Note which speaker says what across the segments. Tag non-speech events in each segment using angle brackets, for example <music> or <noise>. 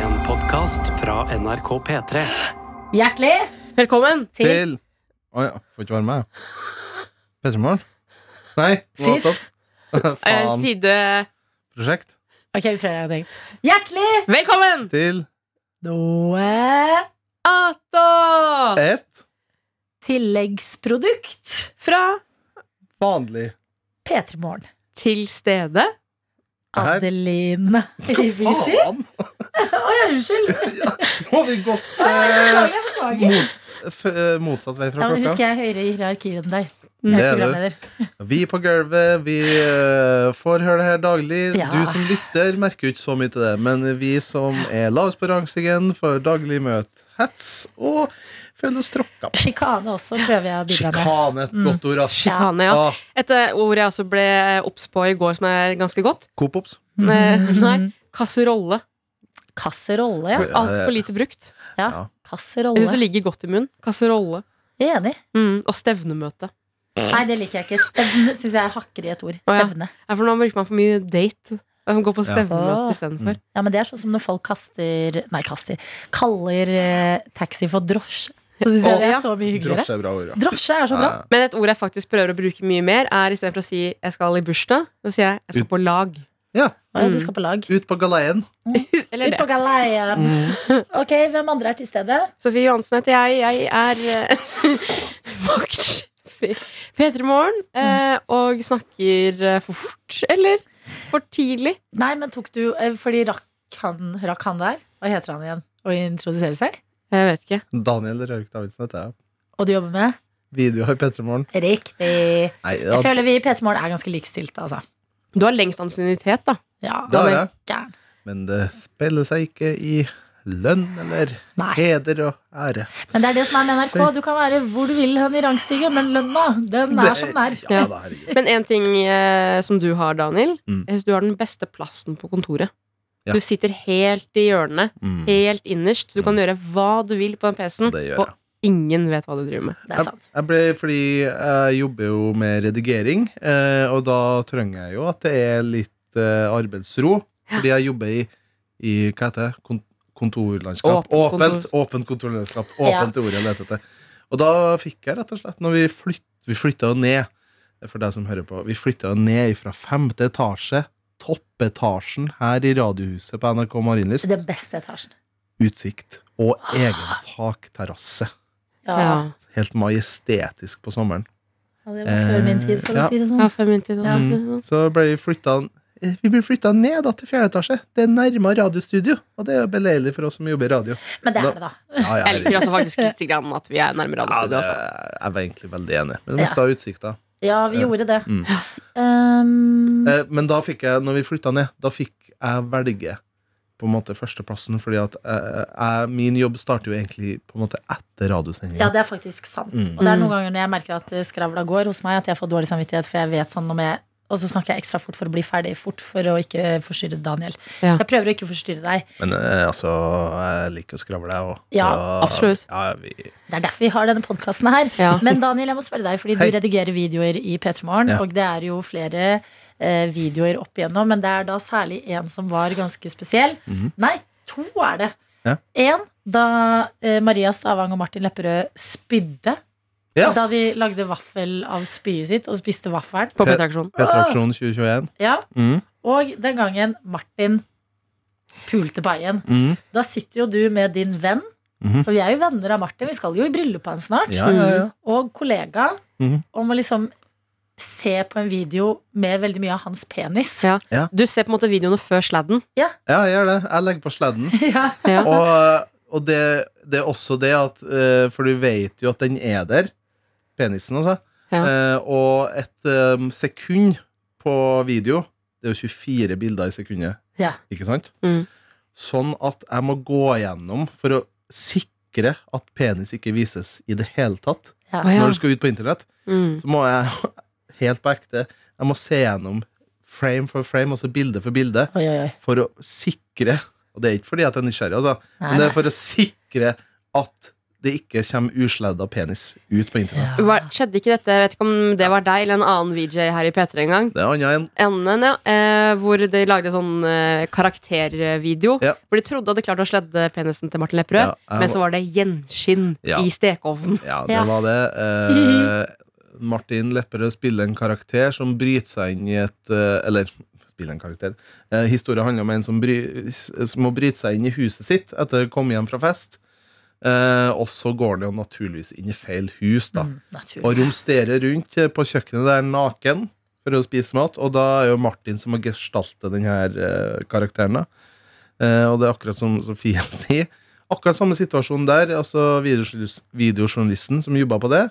Speaker 1: podkast fra NRK P3.
Speaker 2: Hjertelig
Speaker 3: Velkommen til
Speaker 4: Til Å ja, får ikke være med, jeg. Petremorgen? Nei.
Speaker 3: Sitt.
Speaker 2: <laughs>
Speaker 4: noe
Speaker 3: eh,
Speaker 4: annet. Faen.
Speaker 3: side
Speaker 4: Prosjekt.
Speaker 3: Ok, vi prøver en ting.
Speaker 2: Hjertelig
Speaker 3: Velkommen!
Speaker 4: Til
Speaker 2: Noe
Speaker 3: Ato!
Speaker 4: et
Speaker 2: tilleggsprodukt
Speaker 3: Fra
Speaker 4: vanlig
Speaker 2: P3 Morgen
Speaker 3: til stede.
Speaker 4: Her.
Speaker 2: Adeline Ivici
Speaker 4: Faen!
Speaker 2: Å ja, unnskyld
Speaker 4: Nå har vi
Speaker 2: <laughs>
Speaker 4: gått eh,
Speaker 2: Jeg beklager
Speaker 4: mot, f, eh, motsatt vei
Speaker 2: ja,
Speaker 4: fra
Speaker 2: men Husker
Speaker 4: klokka.
Speaker 2: jeg er høyere i hierarkiet enn deg
Speaker 3: Mm.
Speaker 2: Jeg
Speaker 4: Det er du.
Speaker 2: programleder.
Speaker 4: Vi på gulvet, vi eh, får høre det her daglig.
Speaker 2: Ja.
Speaker 4: Du som lytter, merker jo ikke så mye til det, men vi som er lavest på rangstigen, får daglig møte hets og føler oss tråkka på.
Speaker 2: Sjikane også prøver jeg å bidra med
Speaker 4: Sjikane, et godt ord, ass.
Speaker 3: Sjikane, ja.
Speaker 4: Ah,
Speaker 3: Et eh, ord jeg også ble obs på i går, som er ganske godt.
Speaker 4: Coop-ops.
Speaker 3: Eh, Nei, kasserolle.
Speaker 2: Mm. Kasserolle, ja
Speaker 3: Altfor lite brukt.
Speaker 2: Ja,
Speaker 4: Ja.
Speaker 3: Jeg syns det
Speaker 2: kasserolle
Speaker 3: ligger godt i munnen. Kasserolle.
Speaker 2: Jeg er enig
Speaker 3: Mm. Og stevnemøte.
Speaker 2: Nei, det liker jeg ikke Stevne synes jeg hakker i et ord
Speaker 3: Å, ja.
Speaker 2: Stevne
Speaker 3: Ja, for nå bruker man for mye date. Man går på
Speaker 4: Ja.
Speaker 3: stevnemøte
Speaker 2: Åh.
Speaker 3: istedenfor.
Speaker 2: Ja, men det er sånn som når folk kaster Nei, kaster Kaller eh, taxi for drosje Så synes jeg
Speaker 3: Å,
Speaker 2: det
Speaker 3: ja.
Speaker 2: er så mye hyggeligere
Speaker 4: Drosje er bra ord, ja.
Speaker 2: Drosje er så bra
Speaker 4: Ja,
Speaker 3: Men et ord jeg faktisk prøver å bruke mye mer, er istedenfor å si 'jeg skal i bursdag', så sier jeg 'jeg skal på lag'.
Speaker 2: Å, ja,
Speaker 3: Mm.
Speaker 2: Du skal på lag
Speaker 4: Ut på galeien.
Speaker 3: Eller
Speaker 2: Ut
Speaker 3: det.
Speaker 2: på galeien
Speaker 4: Mm.
Speaker 2: <laughs> Ok, hvem andre er til stede?
Speaker 3: Sofie Johansen heter jeg. Jeg er eh, <laughs> vakt P3 Morgen eh, og snakker eh, for fort eller for tidlig.
Speaker 2: Nei, men tok du eh, Fordi rakk han, rakk han der Hva heter han igjen? Å introdusere seg
Speaker 3: Jeg vet ikke.
Speaker 4: Daniel Rørvik Davidsen heter jeg.
Speaker 2: Og du jobber med?
Speaker 4: Video i P3 Morgen.
Speaker 2: Riktig Jeg
Speaker 4: Nei, ja,
Speaker 2: føler vi i P3 Morgen er ganske likestilte, altså
Speaker 3: Du har lengst ansiennitet, da.
Speaker 2: Ja,
Speaker 4: det har
Speaker 2: han er
Speaker 4: jeg.
Speaker 2: gæren.
Speaker 4: Men det spiller seg ikke i lønn eller
Speaker 2: Nei,
Speaker 4: heder og ære.
Speaker 2: men det er det som er med NRK Du kan være hvor du vil hen i rangstigen Men lønna, den er som den er
Speaker 4: Det- Ja, da, herregud.
Speaker 3: Men én ting eh, som du har, Daniel.
Speaker 4: Mm.
Speaker 3: Jeg synes du har den beste plassen på kontoret.
Speaker 4: Ja.
Speaker 3: Du sitter helt i hjørnet,
Speaker 4: Mm.
Speaker 3: helt innerst. Du kan gjøre hva du vil på den PC-en,
Speaker 4: Det gjør jeg.
Speaker 3: og ingen vet hva du driver med.
Speaker 2: Det er sant
Speaker 4: Jeg ble, fordi jeg jobber jo med redigering, eh, og da trenger jeg jo at det er litt eh, arbeidsro. Fordi jeg jobber i, i hva heter det, Kon- kontorlandskap.
Speaker 3: Åpent kontor.
Speaker 4: Åpent, åpent kontorlandskap. Åpent ord jeg leter etter. Og da fikk jeg rett og slett, når vi, flytt, vi flytta jo ned for deg som hører på, vi flytta jo ned fra femte etasje, toppetasjen her i radiohuset på NRK Marienlyst,
Speaker 2: Den beste etasjen
Speaker 4: utsikt og egen takterrasse.
Speaker 2: Ja,
Speaker 4: Helt majestetisk på sommeren.
Speaker 2: Ja, det var før min tid, for å
Speaker 4: Eh, Ja.
Speaker 2: si det sånn.
Speaker 3: Ja, fem minutter. da.
Speaker 4: Mm. Så ble vi flytta eh, vi ble flytta ned da, til fjerde etasje. Det er nærmere radiostudio. Og det er jo beleilig for oss som jobber i radio.
Speaker 2: Men det
Speaker 4: Da-
Speaker 2: er det, da.
Speaker 4: Ja, ja,
Speaker 3: Jeg liker <laughs> også faktisk litt grann at vi er nærmere
Speaker 4: ja,
Speaker 3: alle
Speaker 4: det,
Speaker 3: altså.
Speaker 4: Eh, jeg var egentlig veldig enig. Men det
Speaker 2: Ja.
Speaker 4: mista utsikta.
Speaker 2: Ja, vi
Speaker 4: Ja.
Speaker 2: gjorde det.
Speaker 4: Mm.
Speaker 2: Um,
Speaker 4: Eh, Men da fikk jeg, når vi flytta ned, da fikk jeg velge på en måte førsteplassen, fordi at eh, jeg, min jobb starter jo egentlig på en måte etter
Speaker 2: ja,
Speaker 4: radiosendinga.
Speaker 2: det er faktisk sant.
Speaker 4: Mm.
Speaker 2: Og det er noen ganger når jeg merker at eh, skravla går hos meg, at jeg får dårlig samvittighet, for jeg vet sånn om jeg og så snakker jeg ekstra fort for å bli ferdig fort for å ikke forstyrre Daniel.
Speaker 3: Ja.
Speaker 2: Så jeg prøver å ikke forstyrre deg.
Speaker 4: Men eh, altså, jeg liker å skravle, jeg òg.
Speaker 2: Ja,
Speaker 3: absolutt.
Speaker 4: Ja, vi,
Speaker 2: Det er derfor vi har denne podkasten her.
Speaker 3: Ja.
Speaker 2: Men Daniel, jeg må spørre deg, fordi du
Speaker 4: Hei.
Speaker 2: redigerer videoer i P3 Morgen,
Speaker 4: Ja.
Speaker 2: og det er jo flere eh, videoer opp igjennom, men det er da særlig en som var ganske spesiell.
Speaker 4: Mhm.
Speaker 2: Nei, to er det.
Speaker 4: Ja.
Speaker 2: En, da eh, Maria Stavang og Martin Lepperød spydde.
Speaker 4: Ja.
Speaker 2: Da de lagde vaffel av spyet sitt og spiste vaffelen.
Speaker 3: På P3-aksjonen.
Speaker 4: P3aksjonen 2021.
Speaker 2: Ja.
Speaker 4: Mm,
Speaker 2: Og den gangen Martin pulte paien.
Speaker 4: mm,
Speaker 2: Da sitter jo du med din venn,
Speaker 4: Mhm.
Speaker 2: for vi er jo venner av Martin. Vi skal jo i bryllupet hans snart
Speaker 4: ja, ja, ja.
Speaker 2: og kollega
Speaker 4: Mhm.
Speaker 2: om å liksom se på en video med veldig mye av hans penis.
Speaker 3: Ja. Du ser på en måte videoene før sladden.
Speaker 4: ja, jeg gjør det. Jeg legger på sladden.
Speaker 2: Ja.
Speaker 3: Ja.
Speaker 4: Og, og det, det er også det at eh, For du vet jo at den er der, penisen, altså.
Speaker 3: Ja.
Speaker 4: Eh, og et eh, sekund på video Det er jo 24 bilder i sekundet,
Speaker 2: <laughs> Ja.
Speaker 4: ikke sant?
Speaker 3: Mm.
Speaker 4: Sånn at jeg må gå gjennom for å sikre at penis ikke vises i det hele tatt.
Speaker 2: Ja.
Speaker 3: Å, ja.
Speaker 4: Når du skal ut på internett,
Speaker 3: Mm.
Speaker 4: så må jeg <laughs> helt på ekte Jeg må se gjennom frame for frame, altså bilde for bilde,
Speaker 2: Oi, oi, oi.
Speaker 4: for å sikre Og det er ikke fordi at jeg er nysgjerrig, altså.
Speaker 2: Nei,
Speaker 4: Men det
Speaker 2: nei.
Speaker 4: er for å sikre at det ikke kommer usladda penis ut på internett.
Speaker 3: Hva- Skjedde ikke dette, jeg vet ikke om det var deg eller en annen VJ her i P3 en gang,
Speaker 4: Det er annet enn
Speaker 3: Enden, ja, eh, hvor de lagde sånn eh, karaktervideo
Speaker 4: Ja.
Speaker 3: hvor de trodde de hadde klart å sledde penisen til Martin Lepperød,
Speaker 4: Ja, jeg
Speaker 3: men så var det gjenskinn
Speaker 4: Ja.
Speaker 3: i stekeovnen.
Speaker 4: Ja, det
Speaker 2: Ja.
Speaker 4: var det.
Speaker 2: <laughs>
Speaker 4: Eh, Martin Lepperød spiller en karakter som bryter seg inn i et eh, Eller spiller en karakter. Eh, historien handler om en som, bry, som må bryte seg inn i huset sitt etter å komme hjem fra fest. Eh, og så går han jo naturligvis inn i feil hus, da.
Speaker 2: Mm, naturlig.
Speaker 4: Og romsterer rundt eh, på kjøkkenet der naken for å spise mat. Og da er jo Martin som har gestaltet den her eh, karakteren. da. Eh, og det er akkurat som Sofie <laughs> sier. Akkurat samme situasjon der. altså videojournalis- Videojournalisten som jobba på det,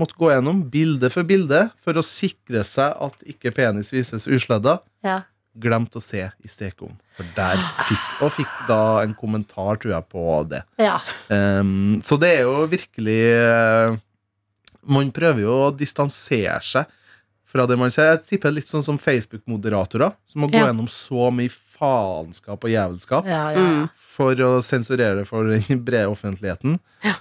Speaker 4: måtte gå gjennom bilde for bilde for å sikre seg at ikke penis vises usledda.
Speaker 2: Ja.
Speaker 4: Glemt å se i stekeovnen. For der fikk, og fikk da en kommentar, tror jeg, på det.
Speaker 2: ja.
Speaker 4: Ehm, så det er jo virkelig eh, Man prøver jo å distansere seg fra det man ser. Jeg tipper litt sånn som Facebook-moderatorer, som må gå
Speaker 3: Ja.
Speaker 4: gjennom så mye faenskap og jævelskap
Speaker 2: ja, ja.
Speaker 3: Mm.
Speaker 4: for å sensurere det for den brede offentligheten.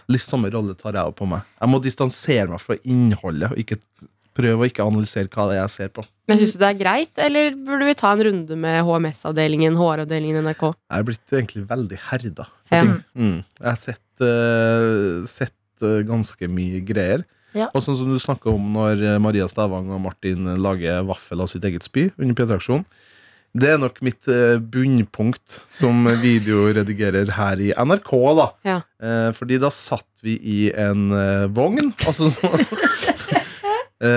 Speaker 4: Litt samme rolle tar jeg jo på meg. Jeg må distansere meg fra innholdet, og ikke t- prøve å ikke analysere hva det er jeg ser på.
Speaker 3: Men syns du det er greit, eller burde vi ta en runde med HMS-avdelingen, HR-avdelingen i NRK?
Speaker 4: Jeg er blitt egentlig veldig herda. for
Speaker 3: Ja.
Speaker 4: ting. Mm. Jeg har sett, eh, sett eh, ganske mye greier.
Speaker 2: Ja.
Speaker 4: Og sånn som du snakker om når eh, Maria Stavang og Martin lager vaffel av sitt eget spy under P3-aksjonen. Det er nok mitt eh, bunnpunkt som videoredigerer her i NRK, da.
Speaker 3: Ja.
Speaker 4: Eh, Fordi da satt vi i en eh, vogn. Altså <laughs> sånn Eh,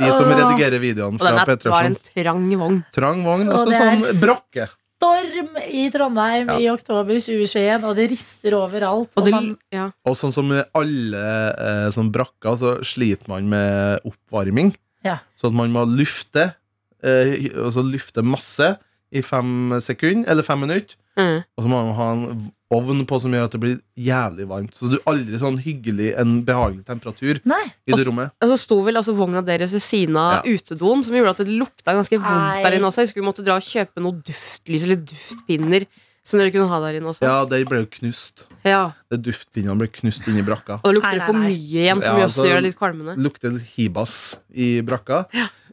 Speaker 4: De som
Speaker 2: Åh.
Speaker 4: redigerer videoene
Speaker 3: Og den
Speaker 4: fra
Speaker 3: er, var en
Speaker 4: P3-aksjonen.
Speaker 3: trang vogn.
Speaker 4: Trang vogn.
Speaker 2: Åh,
Speaker 4: Altså
Speaker 2: det er
Speaker 4: sånn
Speaker 2: s-
Speaker 4: brakke.
Speaker 2: Storm i Trondheim
Speaker 4: Ja.
Speaker 2: i oktober 2021, og det rister overalt.
Speaker 3: Og
Speaker 2: Og
Speaker 3: det,
Speaker 2: man,
Speaker 3: ja.
Speaker 4: Og sånn som med alle eh, sånn brakker, så sliter man med oppvarming.
Speaker 2: Ja.
Speaker 4: Sånn at man må lufte, eh, og så lufte masse i fem sekunder, eller fem minutter.
Speaker 3: Mm.
Speaker 4: Og så må man ha en ovn på som gjør at det blir jævlig varmt. Så du har aldri sånn hyggelig, en behagelig temperatur
Speaker 2: nei,
Speaker 4: i det
Speaker 3: Og s-
Speaker 4: rommet.
Speaker 3: Og så sto vel altså vogna deres ved siden av utedoen, som gjorde at det lukta ganske vondt
Speaker 2: Nei.
Speaker 3: der inne også. Jeg husker vi måtte dra og kjøpe noe duftlys eller duftpinner som dere kunne ha der inne også.
Speaker 4: Ja, de ble jo knust.
Speaker 3: Ja.
Speaker 4: Det Duftpinnene ble knust inni brakka.
Speaker 3: Og da lukter
Speaker 2: Nei,
Speaker 3: det for
Speaker 2: nei, nei.
Speaker 3: mye igjen, som
Speaker 4: Ja,
Speaker 3: jo også
Speaker 4: altså-
Speaker 3: gjør det litt kvalmende.
Speaker 4: Lukter hibas i brakka.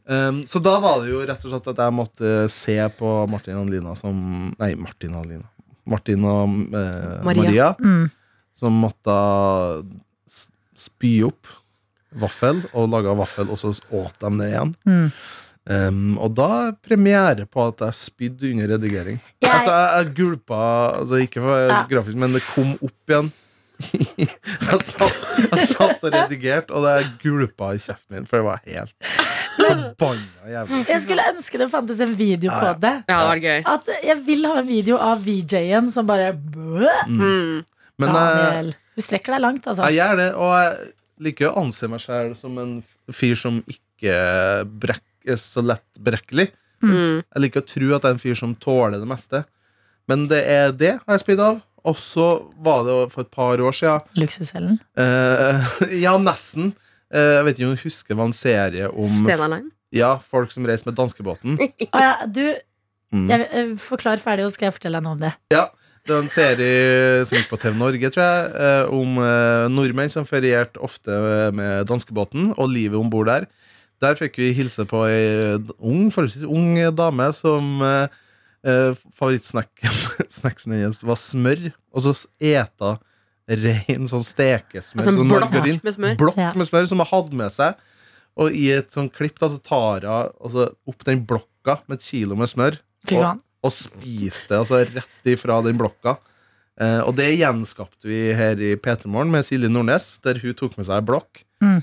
Speaker 4: Um, så da var det jo rett og slett at jeg måtte se på Martin og Lina som Nei, Martin og Lina. Martin og
Speaker 3: Maria.
Speaker 4: eh, Maria.
Speaker 2: mm.
Speaker 4: som måtte s- spy opp vaffel, og laga vaffel, og så åt de det igjen.
Speaker 2: Mm.
Speaker 4: Um, og da premiere på at jeg spydde under redigering.
Speaker 2: Jeg-
Speaker 4: Altså, jeg, jeg gulpa altså, Ikke for
Speaker 2: Ja.
Speaker 4: grafisk, men det kom opp
Speaker 2: <laughs>
Speaker 4: igjen. jeg, satt, jeg satt og redigerte, og det gulpa i kjeften min, for det var helt forbanna jævlig.
Speaker 2: Jeg skulle ønske det fantes en video på
Speaker 4: Ja,
Speaker 2: det.
Speaker 3: Ja, det var gøy.
Speaker 2: At jeg vil ha en video av VJ-en som bare Bø!
Speaker 3: Mm.
Speaker 4: Men eh, jeg,
Speaker 2: Daniel. Du strekker deg langt, altså.
Speaker 4: jeg gjør det, og jeg liker å anse meg sjøl som en fyr som ikke brekk, er så lett brekkelig.
Speaker 3: Mm.
Speaker 4: Jeg liker å tro at jeg er en fyr som tåler det meste. Men det er det har jeg spydd av. Og så var det for et par år sia.
Speaker 2: Luksusfellen.
Speaker 4: Eh, <laughs> ja, nesten. Eh, jeg vet ikke om du husker det var en serie om
Speaker 3: Stena Line.
Speaker 4: ja, folk som reiser med danskebåten.
Speaker 2: Å ja, du,
Speaker 4: Mm.
Speaker 2: jeg, eh, forklar ferdig, og skal jeg fortelle deg noe om det.
Speaker 4: Det var en serie som gikk på TV Norge, tror jeg, eh, om eh, nordmenn som ferierte ofte eh, med danskebåten og livet om bord der. Der fikk vi hilse på ei ung, forholdsvis ung dame som eh, eh, favorittsnacken <laughs> snacksen hennes var smør, og så eta rein sånn stekesmør.
Speaker 3: Altså en
Speaker 4: sånn
Speaker 3: blokk
Speaker 4: margarin.
Speaker 3: med smør.
Speaker 4: Blokk
Speaker 2: Ja.
Speaker 4: med smør som hun hadde med seg. Og i et sånn klipp da, så tar hun altså, opp den blokka med et kilo med smør
Speaker 2: Fy faen.
Speaker 4: og spiste altså, rett ifra den blokka. Eh, og det gjenskapte vi her i P3morgen med Silje Nordnes, der hun tok med seg en blokk.
Speaker 2: Mm.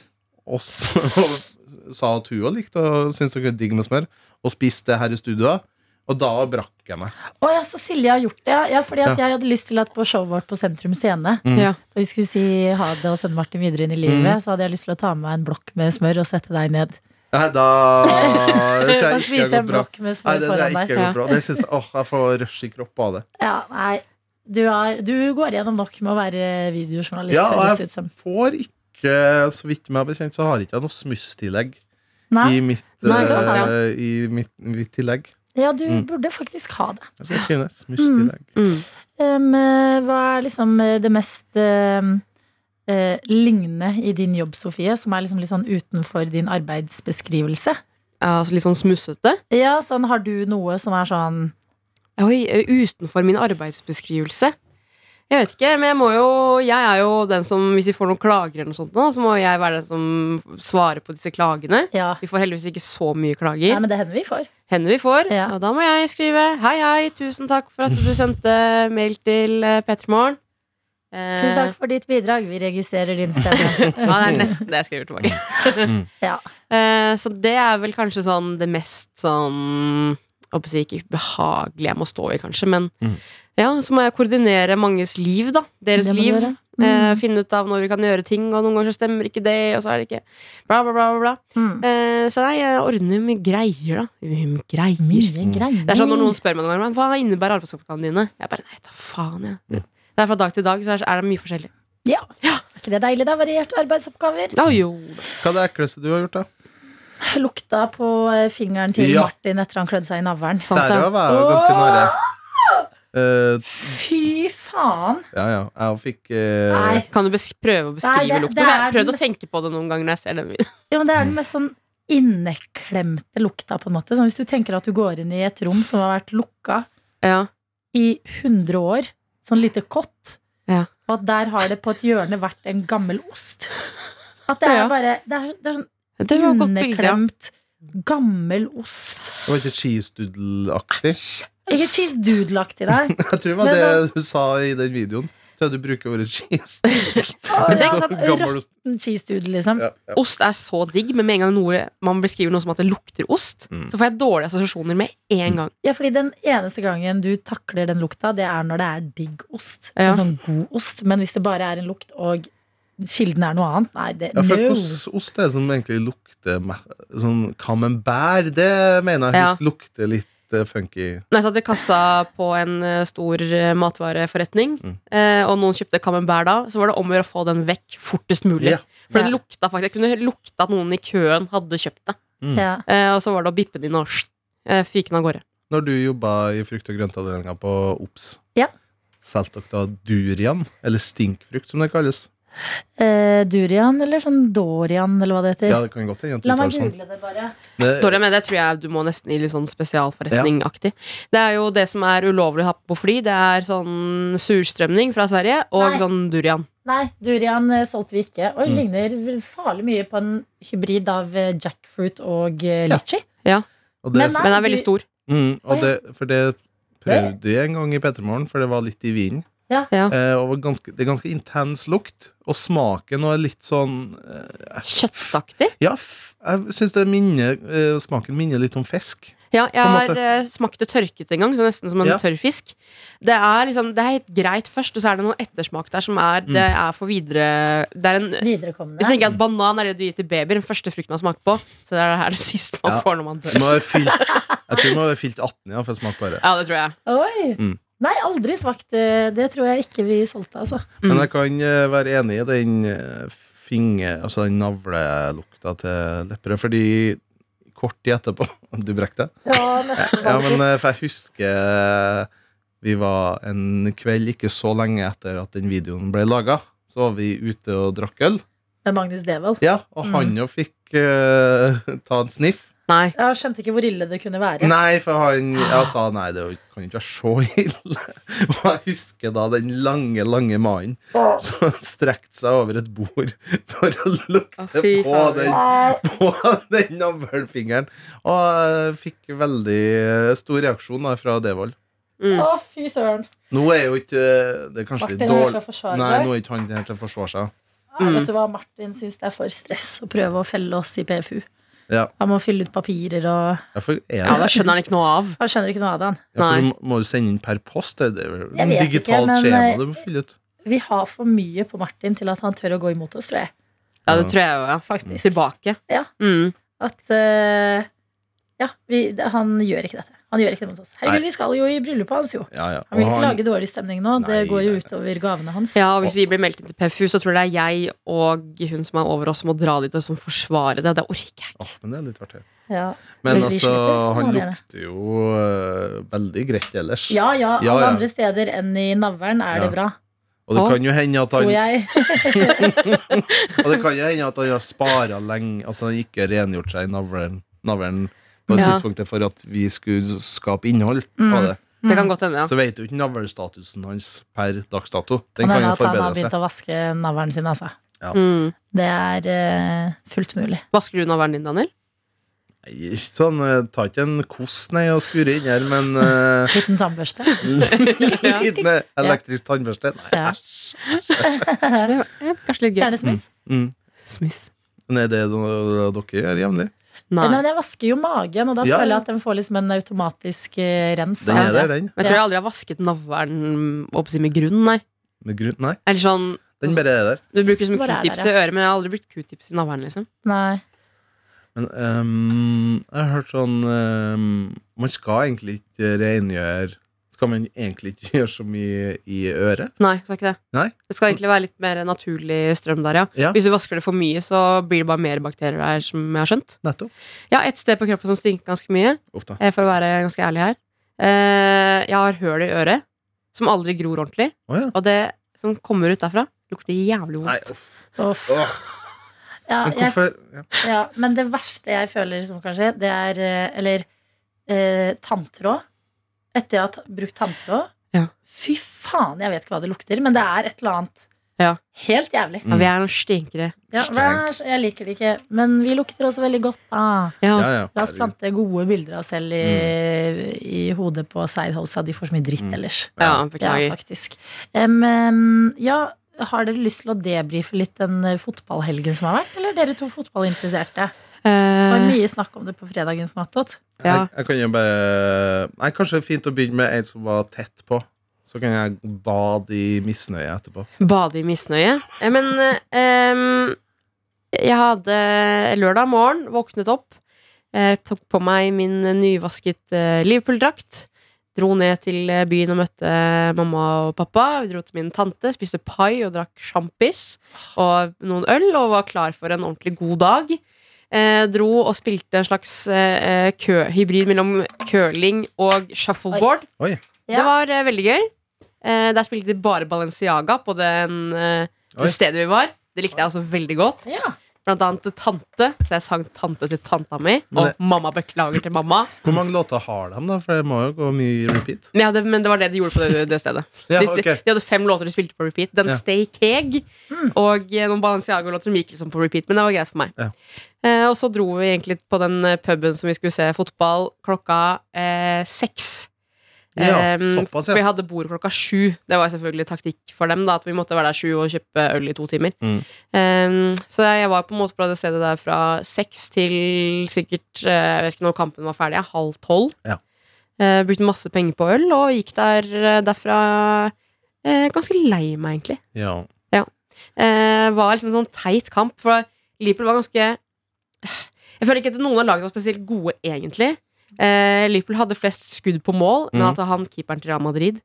Speaker 4: Og så <laughs> sa at hun òg likte og syntes det var digg med smør, og spiste det her i studioet. Og da brakk jeg meg.
Speaker 2: Å ja, så Silje har gjort det. ja. Ja, fordi at jeg hadde lyst til at på showet vårt på Sentrum Scene,
Speaker 4: Mm.
Speaker 3: Ja.
Speaker 2: da vi skulle si ha det og sende Martin videre inn i livet, så hadde jeg lyst til å ta med meg en blokk med smør og sette deg ned.
Speaker 4: Nei,
Speaker 2: <laughs>
Speaker 4: da det tror
Speaker 2: Og
Speaker 4: jeg ikke
Speaker 2: spise en
Speaker 4: har gått bra.
Speaker 2: blokk med
Speaker 4: Nei,
Speaker 2: smør
Speaker 4: det tror jeg
Speaker 2: foran
Speaker 4: ikke
Speaker 2: deg.
Speaker 4: har
Speaker 3: Ja.
Speaker 4: gått bra. Det synes jeg, åh, jeg får rush i kroppen av det.
Speaker 2: Ja, nei. Du, er, du går gjennom nok med å være videojournalist.
Speaker 4: Ja,
Speaker 2: høres
Speaker 4: og
Speaker 2: det
Speaker 4: jeg
Speaker 2: ut som.
Speaker 4: får ikke, så vidt meg bekjent, så har ikke jeg noe smusstillegg
Speaker 2: Nei.
Speaker 4: i mitt,
Speaker 3: Nei, ikke sant, ja.
Speaker 4: eh, i mitt, mitt tillegg.
Speaker 2: Ja, du
Speaker 4: Mm.
Speaker 2: burde faktisk ha det.
Speaker 4: Jeg skal skrive ned. Smusstillegg.
Speaker 3: Mm.
Speaker 2: Em, eh, hva er liksom eh, det mest eh, eh, lignende i din jobb, Sofie, som er liksom litt sånn utenfor din arbeidsbeskrivelse?
Speaker 3: Ja, altså litt sånn smussete.
Speaker 2: Ja, sånn har du noe som er sånn
Speaker 3: Oi, utenfor min arbeidsbeskrivelse. Jeg vet ikke, men jeg må jo Jeg er jo den som, hvis vi får noen klager eller noe sånt nå, så må jeg være den som svarer på disse klagene.
Speaker 2: Ja.
Speaker 3: Vi får heldigvis ikke så mye
Speaker 2: Nei,
Speaker 3: klager.
Speaker 2: men det hender vi får.
Speaker 3: Hender vi får,
Speaker 2: Ja.
Speaker 3: og da må jeg skrive Hei, hei, tusen takk for at du sendte mail til eh, P3 Morgen. Eh,
Speaker 2: Tusen takk for ditt bidrag. Vi registrerer din
Speaker 3: <laughs>
Speaker 2: stemme.
Speaker 3: Ja, det er nesten det jeg skriver tilbake.
Speaker 2: Ja.
Speaker 3: Eh, så det er vel kanskje sånn det mest sånn jeg håper å si ikke behagelige jeg må stå i, kanskje, men
Speaker 4: Mm.
Speaker 3: ja, så må jeg koordinere manges liv, da. Deres
Speaker 2: Det må du
Speaker 3: liv.
Speaker 2: gjøre.
Speaker 3: Eh,
Speaker 2: Mm.
Speaker 3: finne ut av når vi kan gjøre ting, og noen ganger så stemmer ikke det, og så er det ikke bla, bla, bla. bla, bla.
Speaker 2: Mm.
Speaker 3: Eh, så nei, jeg ordner mye greier, da. Mye greier.
Speaker 2: Mye greier.
Speaker 3: Det er sånn når noen spør meg noen ganger «Men hva innebærer arbeidsoppgavene dine. Jeg bare nei, ta faen, jeg. Det er fra dag til dag, så er er det mye forskjellig.
Speaker 2: Ja. Er ikke det deilig? Det er varierte arbeidsoppgaver.
Speaker 3: Ja, jo.
Speaker 4: Hva er det ekleste du har gjort, da?
Speaker 2: Lukta på eh, fingeren til
Speaker 4: Ja.
Speaker 2: Martin etter han klødde seg i navlen.
Speaker 3: Sant,
Speaker 4: Der
Speaker 3: ja.
Speaker 4: ja, var jeg jo ganske nære. Eh,
Speaker 2: Fy faen!
Speaker 4: ja, ja. Jeg fikk eh,
Speaker 2: Nei.
Speaker 3: Kan du bes- prøve å beskrive
Speaker 2: Nei, det-
Speaker 3: lukten?
Speaker 2: det
Speaker 3: For
Speaker 2: er
Speaker 3: Jeg har prøvd
Speaker 2: den
Speaker 3: å tenke på det noen ganger når jeg ser den
Speaker 2: <laughs>
Speaker 3: videoen.
Speaker 2: Ja, men det er den mest sånn inneklemte lukta, på en måte. Sånn, hvis du tenker at du går inn i et rom som har vært lukka
Speaker 3: Ja.
Speaker 2: i 100 år, sånn lite kott,
Speaker 3: Ja.
Speaker 2: og at der har det på et hjørne vært en gammel ost At det er
Speaker 3: Ja.
Speaker 2: bare Det er, det er sånn
Speaker 3: Det var et godt bilde. ja.
Speaker 2: inneklemt, gammel ost.
Speaker 4: Det var ikke cheese doodle-aktig.
Speaker 2: Ikke cheese doodle-aktig der.
Speaker 4: <laughs> Jeg tror det var
Speaker 2: Men sånn-
Speaker 4: det du sa i den videoen. Tror jeg du bruker ordet cheese.
Speaker 2: Men
Speaker 4: <laughs>
Speaker 2: det er
Speaker 4: Gammel-
Speaker 2: sånn
Speaker 4: gammel-
Speaker 2: råtten cheese doodle, liksom.
Speaker 4: ja, ja.
Speaker 3: Ost er så digg, men med en gang noe, man beskriver noe som at det lukter ost,
Speaker 4: Mm.
Speaker 3: så får jeg dårlige assosiasjoner med en gang.
Speaker 2: Ja, fordi den eneste gangen du takler den lukta, det er når det er digg ost.
Speaker 3: Ja.
Speaker 2: En sånn god ost. Men hvis det bare er en lukt, og kilden er noe annet, nei, det
Speaker 4: Ja, for
Speaker 2: no.
Speaker 4: Hvilken ost er det som egentlig lukter me- sånn camembert? Det mener jeg
Speaker 3: Ja.
Speaker 4: husk lukter litt eh, funky.
Speaker 3: Når jeg satt i kassa på en eh, stor eh, matvareforretning,
Speaker 4: Mm.
Speaker 3: eh, og noen kjøpte camembert da, så var det om å gjøre å få den vekk fortest mulig.
Speaker 4: Ja.
Speaker 3: For det
Speaker 2: Ja.
Speaker 3: lukta faktisk, jeg kunne lukte at noen i køen hadde kjøpt det.
Speaker 2: Ja.
Speaker 3: Eh, og så var det å bippe den inn og eh, fyke den av gårde.
Speaker 4: Når du jobba i frukt- og grøntavdelinga på OBS,
Speaker 2: Ja.
Speaker 4: solgte dere da durian? Eller stinkfrukt, som det kalles.
Speaker 2: Eh, durian, eller sånn dorian, eller hva det heter.
Speaker 4: Ja, det kan godt hende. at du
Speaker 2: La meg
Speaker 4: uttaler sånn.
Speaker 2: google det, bare.
Speaker 4: Det-
Speaker 3: Dårlig, men det tror jeg du må nesten i litt sånn spesialforretningaktig. Det er jo det som er ulovlig å ha på fly. Det er sånn surstrømning fra Sverige og
Speaker 2: Nei.
Speaker 3: sånn durian.
Speaker 2: Nei, durian eh, solgte vi ikke. Og
Speaker 4: Mm.
Speaker 2: ligner vel farlig mye på en hybrid av eh, jackfruit og eh, litchi.
Speaker 4: Og det,
Speaker 2: Men nei.
Speaker 4: som-
Speaker 3: Men den er veldig
Speaker 2: du-
Speaker 3: stor.
Speaker 2: Å,
Speaker 4: mm, og
Speaker 2: ja.
Speaker 4: det, for det prøvde jeg en gang i Petermorgen, for det var litt i vinen.
Speaker 2: Ja.
Speaker 3: Ja.
Speaker 4: Eh, og var ganske, det er ganske intens lukt. Og smaken og er litt sånn eh,
Speaker 3: Kjøttaktig.
Speaker 4: Ja, f jeg syns det minner eh, Smaken minner litt om fisk.
Speaker 3: Ja, jeg
Speaker 4: På en
Speaker 3: har
Speaker 4: måte.
Speaker 3: eh, smakt det tørket en gang, så nesten som en
Speaker 4: Ja.
Speaker 3: tørr fisk. Det er liksom, det er helt greit først, og så er det noe ettersmak der som er Det
Speaker 4: Mm.
Speaker 3: er for videre Det er en hvis du
Speaker 2: Viderekommende.
Speaker 3: tenker at Banan er det du gir til babyer, den første frukten man smaker på. Så det er det her det <laughs> siste man
Speaker 4: Ja.
Speaker 3: får når man
Speaker 4: Du
Speaker 3: dør.
Speaker 4: må ha fylt, jeg tror du må ha fylt 18, ja, for jeg smakte bare.
Speaker 3: Ja, det tror jeg.
Speaker 2: Oi!
Speaker 4: Mm.
Speaker 2: Nei, aldri smakt. eh, Det tror jeg ikke vi solgte, altså.
Speaker 3: Mm.
Speaker 4: Men jeg kan eh, være enig i den eh, finger... Altså den navlelukta til Lepperød, fordi kort tid etterpå <laughs> Du brekte deg?
Speaker 2: Ja, nesten.
Speaker 4: Ja, men eh, for jeg husker eh, vi var en kveld ikke så lenge etter at den videoen ble laga. Så var vi ute og drakk øl.
Speaker 2: Med Magnus Devold.
Speaker 4: Ja, og
Speaker 3: Mm.
Speaker 4: han jo fikk eh, ta en sniff.
Speaker 3: Nei.
Speaker 2: Jeg skjønte ikke hvor ille det kunne være.
Speaker 4: Nei, for han
Speaker 3: Ah.
Speaker 4: Jeg sa nei, det kan jo ikke være så ille. <laughs> Og jeg husker da den lange, lange mannen
Speaker 3: Ah.
Speaker 4: som <laughs> strekte seg over et bord for å lukte
Speaker 3: Å, fy
Speaker 4: på
Speaker 3: faen.
Speaker 4: den, på den navlefingeren. Og jeg fikk veldig eh, stor reaksjon da fra Devold.
Speaker 2: Å, fy søren.
Speaker 4: Nå er jo ikke eh, Det er kanskje litt
Speaker 2: Martin er her til
Speaker 4: dårlig
Speaker 2: å forsvare
Speaker 4: Nei,
Speaker 2: seg.
Speaker 4: nå er ikke han her til å forsvare seg.
Speaker 2: Ja, Vet du hva, Martin syns det er for stress å prøve å felle oss i PFU.
Speaker 4: Ja,
Speaker 2: Han må fylle ut papirer og
Speaker 4: ja, for, er
Speaker 3: Ja,
Speaker 4: det,
Speaker 3: da skjønner han ikke noe av.
Speaker 2: Han skjønner ikke noe av det, han.
Speaker 4: ja, for
Speaker 3: nei.
Speaker 4: du må jo sende inn per post. Det er vel
Speaker 2: Jeg vet ikke,
Speaker 4: digitalt
Speaker 2: men, eh,
Speaker 4: skjema du må fylle ut.
Speaker 2: Vi har for mye på Martin til at han tør å gå imot oss, tror jeg.
Speaker 3: Ja, det tror jeg jo, ja.
Speaker 2: Faktisk.
Speaker 3: Tilbake.
Speaker 2: Ja.
Speaker 3: Mm.
Speaker 2: At eh, Ja, vi, det- han gjør ikke dette. Han gjør ikke det mot oss. Herregud, vi skal jo i bryllupet hans, jo.
Speaker 4: Ja, ja.
Speaker 2: Han vil
Speaker 4: Og
Speaker 2: ikke
Speaker 4: han-
Speaker 2: lage dårlig stemning nå. det
Speaker 4: Nei,
Speaker 2: går jo
Speaker 4: nei.
Speaker 2: utover gavene hans.
Speaker 3: Ja, og Hvis vi blir meldt inn til PFU, så tror jeg det er jeg og hun som er over oss, som må dra dit og som forsvare det. Det orker jeg ikke.
Speaker 4: Åh, men det er litt artig.
Speaker 2: Ja.
Speaker 4: Men
Speaker 2: Hvis vi
Speaker 4: altså,
Speaker 2: slipper, så må
Speaker 4: han
Speaker 2: han gjøre
Speaker 4: lukter jo øh, veldig greit ellers.
Speaker 2: Ja, ja, alle
Speaker 4: Ja, ja.
Speaker 2: andre steder enn i navlen er
Speaker 4: Ja.
Speaker 2: det bra,
Speaker 4: Og det
Speaker 3: Å.
Speaker 4: kan jo hende at han,
Speaker 2: tror jeg.
Speaker 4: og det kan jo hende at han har spara lenge Altså han ikke rengjort seg i navlen, navlen på det
Speaker 3: Ja.
Speaker 4: tidspunktet for at vi skulle skape innhold på
Speaker 2: Mm.
Speaker 4: det.
Speaker 3: Det kan godt hende, ja.
Speaker 4: Så vet du ikke navlestatusen hans per dags dato.
Speaker 2: Han
Speaker 4: Den kan
Speaker 2: mener at han
Speaker 4: jo
Speaker 2: har
Speaker 4: forbedre
Speaker 2: begynt
Speaker 4: seg.
Speaker 2: å vaske navlen sin, altså.
Speaker 3: Mm.
Speaker 2: Det er eh, fullt mulig.
Speaker 3: Vasker du navlen din,
Speaker 2: <laughs>
Speaker 3: Daniel?
Speaker 4: Nei, ikke Sånn, eh, Ta ikke en kost nei og skure inn her, men eh,
Speaker 2: <laughs>
Speaker 4: <laughs>
Speaker 2: Liten tannbørste.
Speaker 4: Liten elektrisk tannbørste. Nei,
Speaker 2: Ja.
Speaker 4: æsj. æsj, æsj.
Speaker 3: Kanskje litt gøy.
Speaker 2: Kjernesmus.
Speaker 4: Mm.
Speaker 3: Smiss.
Speaker 4: Nei, det er noe dere gjør jevnlig.
Speaker 2: Nei.
Speaker 3: Nei.
Speaker 2: men jeg vasker jo magen, og da
Speaker 4: Ja,
Speaker 2: føler
Speaker 4: ja.
Speaker 2: jeg at den får liksom en automatisk eh, rens.
Speaker 4: Den
Speaker 2: av
Speaker 4: er
Speaker 2: det.
Speaker 4: der, den.
Speaker 3: Men jeg tror jeg aldri har vasket navlen opp si, med grunn, nei.
Speaker 4: Med grunn, nei,
Speaker 3: Eller sånn,
Speaker 4: den bare er der.
Speaker 3: Du bruker som
Speaker 2: Hvor er
Speaker 3: q-tips i
Speaker 2: dere?
Speaker 3: øret, men jeg har aldri brukt q-tips i navlen. liksom
Speaker 2: Nei.
Speaker 4: Men ehm, jeg har hørt sånn ehm, Man skal egentlig ikke rengjøre Skal man egentlig ikke <laughs> gjøre så mye i øret?
Speaker 3: Nei, skal ikke det.
Speaker 4: Nei.
Speaker 3: Det skal egentlig være litt mer naturlig strøm der, ja.
Speaker 4: Ja.
Speaker 3: Hvis du vasker det for mye, så blir det bare mer bakterier der, som jeg har skjønt.
Speaker 4: Nettopp.
Speaker 3: Jeg har et sted på kroppen som stinker ganske mye.
Speaker 4: Uff da.
Speaker 3: Jeg får Eh, være ganske ærlig her. Eh, Jeg har høl i øret som aldri gror ordentlig,
Speaker 4: Å ja.
Speaker 3: og det som kommer ut derfra, lukter jævlig
Speaker 4: Nei,
Speaker 3: vondt.
Speaker 4: uff.
Speaker 2: Uff.
Speaker 4: Åh,
Speaker 2: Ja,
Speaker 4: men
Speaker 2: jeg,
Speaker 4: hvorfor ja.
Speaker 2: ja, men det verste jeg føler, liksom, kanskje, det er eh, Eller eh, tanntråd. Etter jeg har ta- brukt tanntråd.
Speaker 3: Ja.
Speaker 2: Fy faen, jeg vet ikke hva det lukter, men det er et eller annet
Speaker 3: Ja.
Speaker 2: helt jævlig.
Speaker 3: Ja, vi er noen stinkere.
Speaker 2: Ja, vær så- jeg liker det ikke, men vi lukter også veldig godt. Ah.
Speaker 3: Ja.
Speaker 4: Ja, ja.
Speaker 2: La oss plante gode bilder av oss selv i, i hodet på Sidehosa. De får så mye dritt
Speaker 4: Mm.
Speaker 2: ellers.
Speaker 3: Ja,
Speaker 2: Ja,
Speaker 3: beklager.
Speaker 2: faktisk. Em, em, ja, har dere lyst til å debrife litt den eh, fotballhelgen som har vært? Eller dere to fotballinteresserte? Det var
Speaker 3: Eh,
Speaker 2: mye snakk om det på fredagens Mattot.
Speaker 3: ja.
Speaker 4: Jeg, jeg kan jo bare Nei, kanskje det er fint å begynne med en som var tett på. Så kan jeg bade i misnøye etterpå.
Speaker 3: Bade i misnøye. Eh, Men eh, em, jeg hadde lørdag morgen våknet opp, eh, tok på meg min nyvasket eh, Liverpool-drakt. Dro ned til eh, byen og møtte mamma og pappa. Vi dro til min tante, spiste pai og drakk sjampis og noen øl og var klar for en ordentlig god dag. Eh, dro og spilte en slags eh, eh, kø, hybrid mellom curling og shuffleboard.
Speaker 2: Ja.
Speaker 3: Det var eh, veldig gøy. Eh, der spilte de bare Balenciaga på den, eh,
Speaker 4: Oi.
Speaker 3: det stedet vi var. Det likte jeg også veldig godt.
Speaker 2: Ja.
Speaker 3: Blant annet til tante, så jeg sang tante til tanta mi.
Speaker 4: Men
Speaker 3: Og
Speaker 4: det-
Speaker 3: mamma beklager til mamma.
Speaker 4: Hvor mange låter har de, da? For det må jo gå mye i repeat.
Speaker 3: Men, jeg hadde, men det var det de gjorde på det, det stedet.
Speaker 4: Ja,
Speaker 3: de,
Speaker 4: ok.
Speaker 3: de, de hadde fem låter de spilte på repeat. Den
Speaker 4: Ja. Hmm.
Speaker 3: Stay Keg og eh, noen Balenciaga-låter som gikk liksom på repeat. Men det var greit for meg.
Speaker 4: Ja.
Speaker 3: Eh, og så dro vi egentlig på den eh, puben som vi skulle se fotball, klokka eh, seks.
Speaker 4: Ja,
Speaker 3: Ehm,
Speaker 4: såpass,
Speaker 3: For vi
Speaker 4: ja.
Speaker 3: hadde bord klokka sju. Det var selvfølgelig taktikk for dem. da At vi måtte være der sju og kjøpe øl i to timer.
Speaker 4: Mm.
Speaker 3: Ehm, så jeg var på en måte på det stedet der fra seks til sikkert eh, Jeg vet ikke når kampen var ferdig, ja, halv tolv.
Speaker 4: Ja.
Speaker 3: Eh, brukte masse penger på øl og gikk der eh, derfra eh, ganske lei meg, egentlig.
Speaker 4: Ja.
Speaker 3: Eh, var liksom en sånn teit kamp, for Liverpool var ganske Jeg føler ikke at noen av lagene var spesielt gode, egentlig. Eh, Liverpool hadde flest skudd på mål, men
Speaker 4: Mm.
Speaker 3: at han keeperen til Real Madrid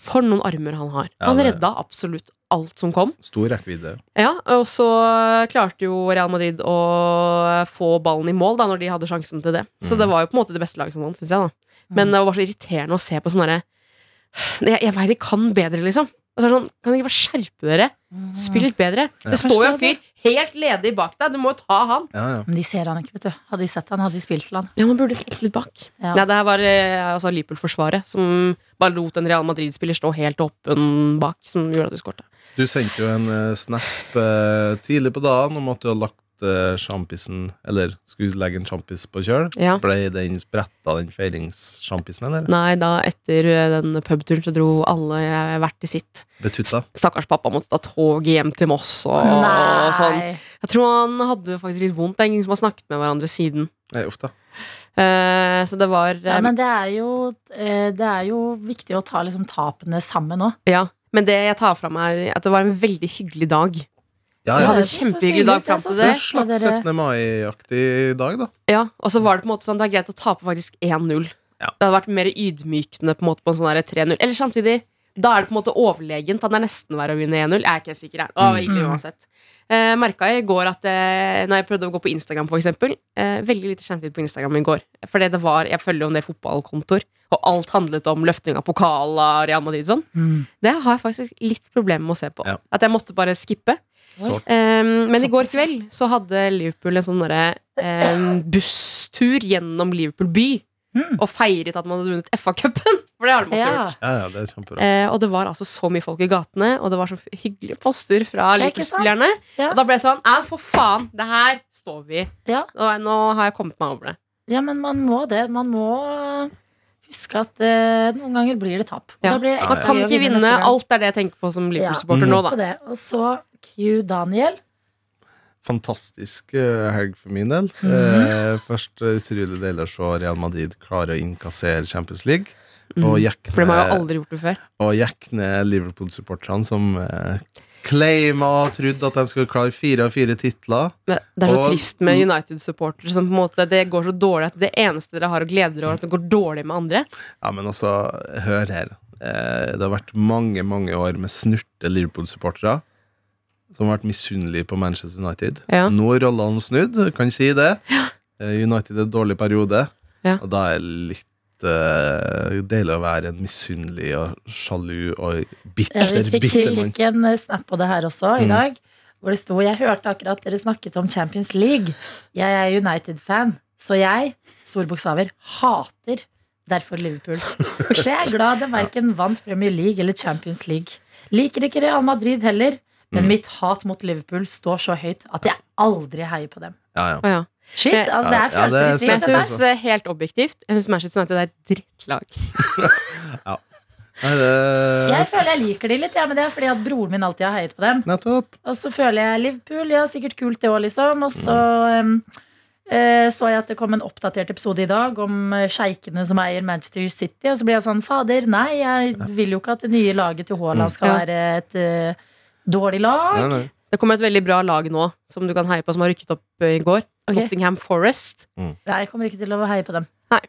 Speaker 3: For noen armer han har.
Speaker 4: Ja,
Speaker 3: Han
Speaker 4: det-
Speaker 3: redda absolutt alt som kom.
Speaker 4: Stor rekkevidde.
Speaker 3: Ja, Og så klarte jo Real Madrid å få ballen i mål da når de hadde sjansen til det. Så
Speaker 4: Mm.
Speaker 3: det var jo på en måte det beste laget som vant, syns jeg. da Men
Speaker 2: Mm.
Speaker 3: det var bare så irriterende å se på sånn derre Jeg, jeg veit de kan bedre, liksom. Og så er det sånn, Kan dere ikke bare skjerpe dere? Spill litt bedre.
Speaker 4: Ja.
Speaker 3: Det står jo en
Speaker 2: Forstår det.
Speaker 3: fyr helt ledig bak deg. Du må jo ta han.
Speaker 4: Ja, ja.
Speaker 2: Men de ser han ikke, vet du. Hadde de sett han, hadde de spilt til han.
Speaker 3: Ja, man burde sett litt bak.
Speaker 2: Ja.
Speaker 3: Nei, det her var eh, altså Liverpool-forsvaret som bare lot en Real Madrid-spiller stå helt åpen bak, som gjorde at du skårte.
Speaker 4: Du sendte jo en eh, snap eh, tidlig på dagen om at du hadde lagt eh, sjampisen Eller skulle legge en sjampis på kjøl.
Speaker 3: Ja.
Speaker 4: Ble den bretta, den feiringssjampisen, eller?
Speaker 3: Nei, da etter eh, den pubturen så dro alle eh, hvert til sitt.
Speaker 4: Betutta.
Speaker 3: Stakkars pappa måtte ta toget hjem til Moss og, og sånn.
Speaker 2: Nei!
Speaker 3: Jeg tror han hadde faktisk litt vondt. Det er ingen som har snakket med hverandre siden.
Speaker 4: Nei, uff da.
Speaker 3: Eh, så det var eh,
Speaker 2: Ja, men det er, jo, eh, det er jo viktig å ta liksom tapene sammen òg.
Speaker 3: eh, ja. men det jeg tar fra meg, at det var en veldig hyggelig dag.
Speaker 4: Ja,
Speaker 3: Vi
Speaker 4: ja.
Speaker 3: hadde en kjempehyggelig dag fram til
Speaker 4: Det er
Speaker 3: det.
Speaker 4: en slags 17. mai-aktig dag, da.
Speaker 3: Ja, og så var det på en måte sånn Det er greit å tape faktisk 1-0.
Speaker 4: Ja.
Speaker 3: Det hadde vært mer ydmykende på en måte på en sånn der 3-0. Eller samtidig, da er det på en måte overlegent. Han er nesten verre å vinne 1-0. Jeg er ikke helt sikker her. Å,
Speaker 4: Mm.
Speaker 3: egentlig
Speaker 2: Mm.
Speaker 3: uansett. Eh, Merka jeg i går at eh, Når jeg prøvde å gå på Instagram, for eksempel eh, Veldig lite skjermtid på Instagram i går. Fordi det var, Jeg følger jo en del fotballkontoer, og alt handlet om løfting av pokal av Real Madrid. og Sånn.
Speaker 2: Mm.
Speaker 3: Det har jeg faktisk litt problemer med å se på.
Speaker 4: Ja.
Speaker 3: At jeg måtte bare skippe.
Speaker 4: Sårt.
Speaker 3: Um, men i går
Speaker 2: Såpass, ja.
Speaker 3: kveld så hadde Liverpool en sånn derre, um, busstur gjennom Liverpool by.
Speaker 2: Mm.
Speaker 3: Og feiret at man hadde vunnet FA-cupen! <laughs> For det har de også
Speaker 2: Ja.
Speaker 3: gjort.
Speaker 4: Ja, ja, det er kjempebra.
Speaker 3: Eh, og det var altså så mye folk i gatene, og det var så hyggelige poster fra
Speaker 2: Ja, ikke sant?
Speaker 3: Liverpool-spillerne.
Speaker 2: Ja.
Speaker 3: Og da ble jeg sånn Ja, for faen! Det her står vi i.
Speaker 2: Ja.
Speaker 3: Og nå har jeg kommet meg over det.
Speaker 2: Ja, men man må det. Man må huske at eh, noen ganger blir det tap. Og
Speaker 3: Ja.
Speaker 2: da blir det
Speaker 3: Man
Speaker 2: ekstra
Speaker 3: kan
Speaker 2: gøy å
Speaker 3: ikke
Speaker 2: neste
Speaker 3: vinne.
Speaker 2: gang. Mm.
Speaker 3: Alt er det jeg tenker på som Liverpool-supporter
Speaker 4: Ja.
Speaker 3: nå, da.
Speaker 2: På det. Og så Q Daniel.
Speaker 4: Fantastisk eh, helg for min del.
Speaker 3: Mhm.
Speaker 4: eh, først eh, utrolig deilig å se Real Madrid klare å innkassere Champions League. Og
Speaker 3: Mm.
Speaker 4: jekke
Speaker 3: For de har jo
Speaker 4: ned-
Speaker 3: aldri gjort det før.
Speaker 4: og jekke ned Liverpool-supporterne, som eh, claima og trodde at de skulle klare fire av fire titler.
Speaker 3: Men Det er så
Speaker 4: Og-
Speaker 3: trist med United-supportere som på en måte det går så dårlig at det eneste dere har å glede dere over, er at det går dårlig med andre.
Speaker 4: Ja, men altså, hør her. Eh, Det har vært mange, mange år med snurte Liverpool-supportere som har vært misunnelige på Manchester United.
Speaker 3: Ja.
Speaker 4: Nå er rollene snudd, kan si det. Eh, United er en dårlig periode,
Speaker 3: Ja.
Speaker 4: og da er det litt eh, deilig å være en misunnelig og sjalu og
Speaker 2: Eh,
Speaker 4: bitter,
Speaker 2: Vi fikk,
Speaker 4: bitter mann.
Speaker 2: fikk en eh, snap på det her også i
Speaker 4: Mm.
Speaker 2: dag. Hvor det sto Jeg hørte akkurat dere snakket om Champions League. Jeg er United-fan, så jeg, store bokstaver, hater derfor
Speaker 4: <laughs>
Speaker 2: Liverpool. Så jeg er glad de verken vant Premier League eller Champions League. Liker ikke Real Madrid heller, men
Speaker 4: Mm.
Speaker 2: mitt hat mot Liverpool står så høyt at jeg aldri heier på dem.
Speaker 4: Ja, ja.
Speaker 3: Å ja.
Speaker 2: Shit,
Speaker 3: Eh,
Speaker 2: altså det er
Speaker 4: ja, det er
Speaker 2: følelser i
Speaker 3: Men jeg
Speaker 2: sving. dette
Speaker 4: spesielt.
Speaker 2: her.
Speaker 3: synes eh, helt objektivt Jeg synes Manchester United er et drittlag.
Speaker 4: Nei, det-
Speaker 2: Jeg føler jeg liker de litt, ja, men det er fordi at broren min alltid har heiet på dem.
Speaker 4: Nettopp.
Speaker 2: Og så føler jeg Liverpool, ja, sikkert kult det òg, liksom. Og så
Speaker 4: Mm.
Speaker 2: em, eh, så jeg at det kom en oppdatert episode i dag om eh, sjeikene som eier Manchester City. Og så blir jeg sånn, fader, nei, jeg vil jo ikke at det nye laget til
Speaker 4: Mm.
Speaker 2: Haaland skal
Speaker 3: Ja.
Speaker 2: være et eh, dårlig lag.
Speaker 4: Nei, nei.
Speaker 3: Det kommer et veldig bra lag nå, som du kan heie på, som har rykket opp eh, i går.
Speaker 2: Ok.
Speaker 3: Nottingham Forest.
Speaker 2: Nei, jeg kommer ikke til å heie på dem.
Speaker 3: Nei.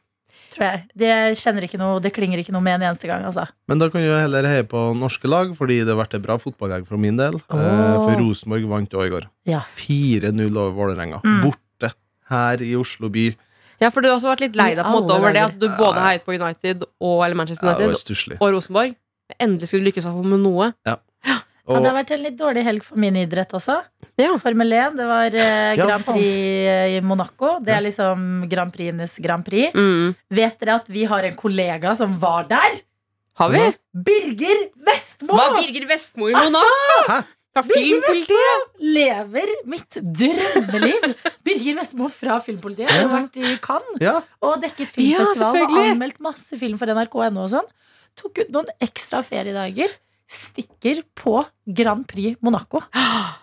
Speaker 2: Tror jeg. Det kjenner ikke noe, det klinger ikke noe med en eneste gang, altså.
Speaker 4: Men da kan jeg heller heie på norske lag, fordi det har vært et bra fotballag for min del. Eh,
Speaker 2: Åh.
Speaker 4: For Rosenborg vant også i går.
Speaker 2: Ja.
Speaker 4: 4-0 over Vålerenga.
Speaker 2: Mm.
Speaker 4: Borte her i Oslo by.
Speaker 3: Ja, for du har også vært litt lei deg på
Speaker 2: I
Speaker 3: en måte
Speaker 2: alle
Speaker 3: over det
Speaker 2: dager.
Speaker 3: at du både heiet på United og eller Manchester
Speaker 4: Ja, det var
Speaker 3: United
Speaker 4: stusslig.
Speaker 3: og Rosenborg. Men Endelig skulle du lykkes med noe.
Speaker 2: Ja,
Speaker 4: Og
Speaker 2: det har vært en litt dårlig helg for min idrett også.
Speaker 3: Ja.
Speaker 2: Formel 1. Det var eh,
Speaker 4: Ja,
Speaker 2: Grand
Speaker 4: faen.
Speaker 2: Prix eh, i Monaco. Det
Speaker 4: Ja.
Speaker 2: er liksom Grand Prixenes Grand Prix.
Speaker 3: Mm.
Speaker 2: Vet dere at vi har en kollega som var der?
Speaker 3: Har vi?
Speaker 2: Birger Vestmo!
Speaker 3: Hva Birger Vestmo i
Speaker 2: Altså,
Speaker 3: Mona?
Speaker 4: Hæ?
Speaker 3: Fra
Speaker 2: Birger
Speaker 3: filmpolitiet?
Speaker 2: Lever mitt drømmeliv! Birger Vestmo fra Filmpolitiet har jo
Speaker 4: Ja.
Speaker 2: vært i Cannes
Speaker 4: ja,
Speaker 2: og dekket
Speaker 3: Ja,
Speaker 2: filmfestival og
Speaker 3: selvfølgelig.
Speaker 2: anmeldt masse film for NRK.no og sånn. Tok ut noen ekstra feriedager. Stikker på Grand Prix Monaco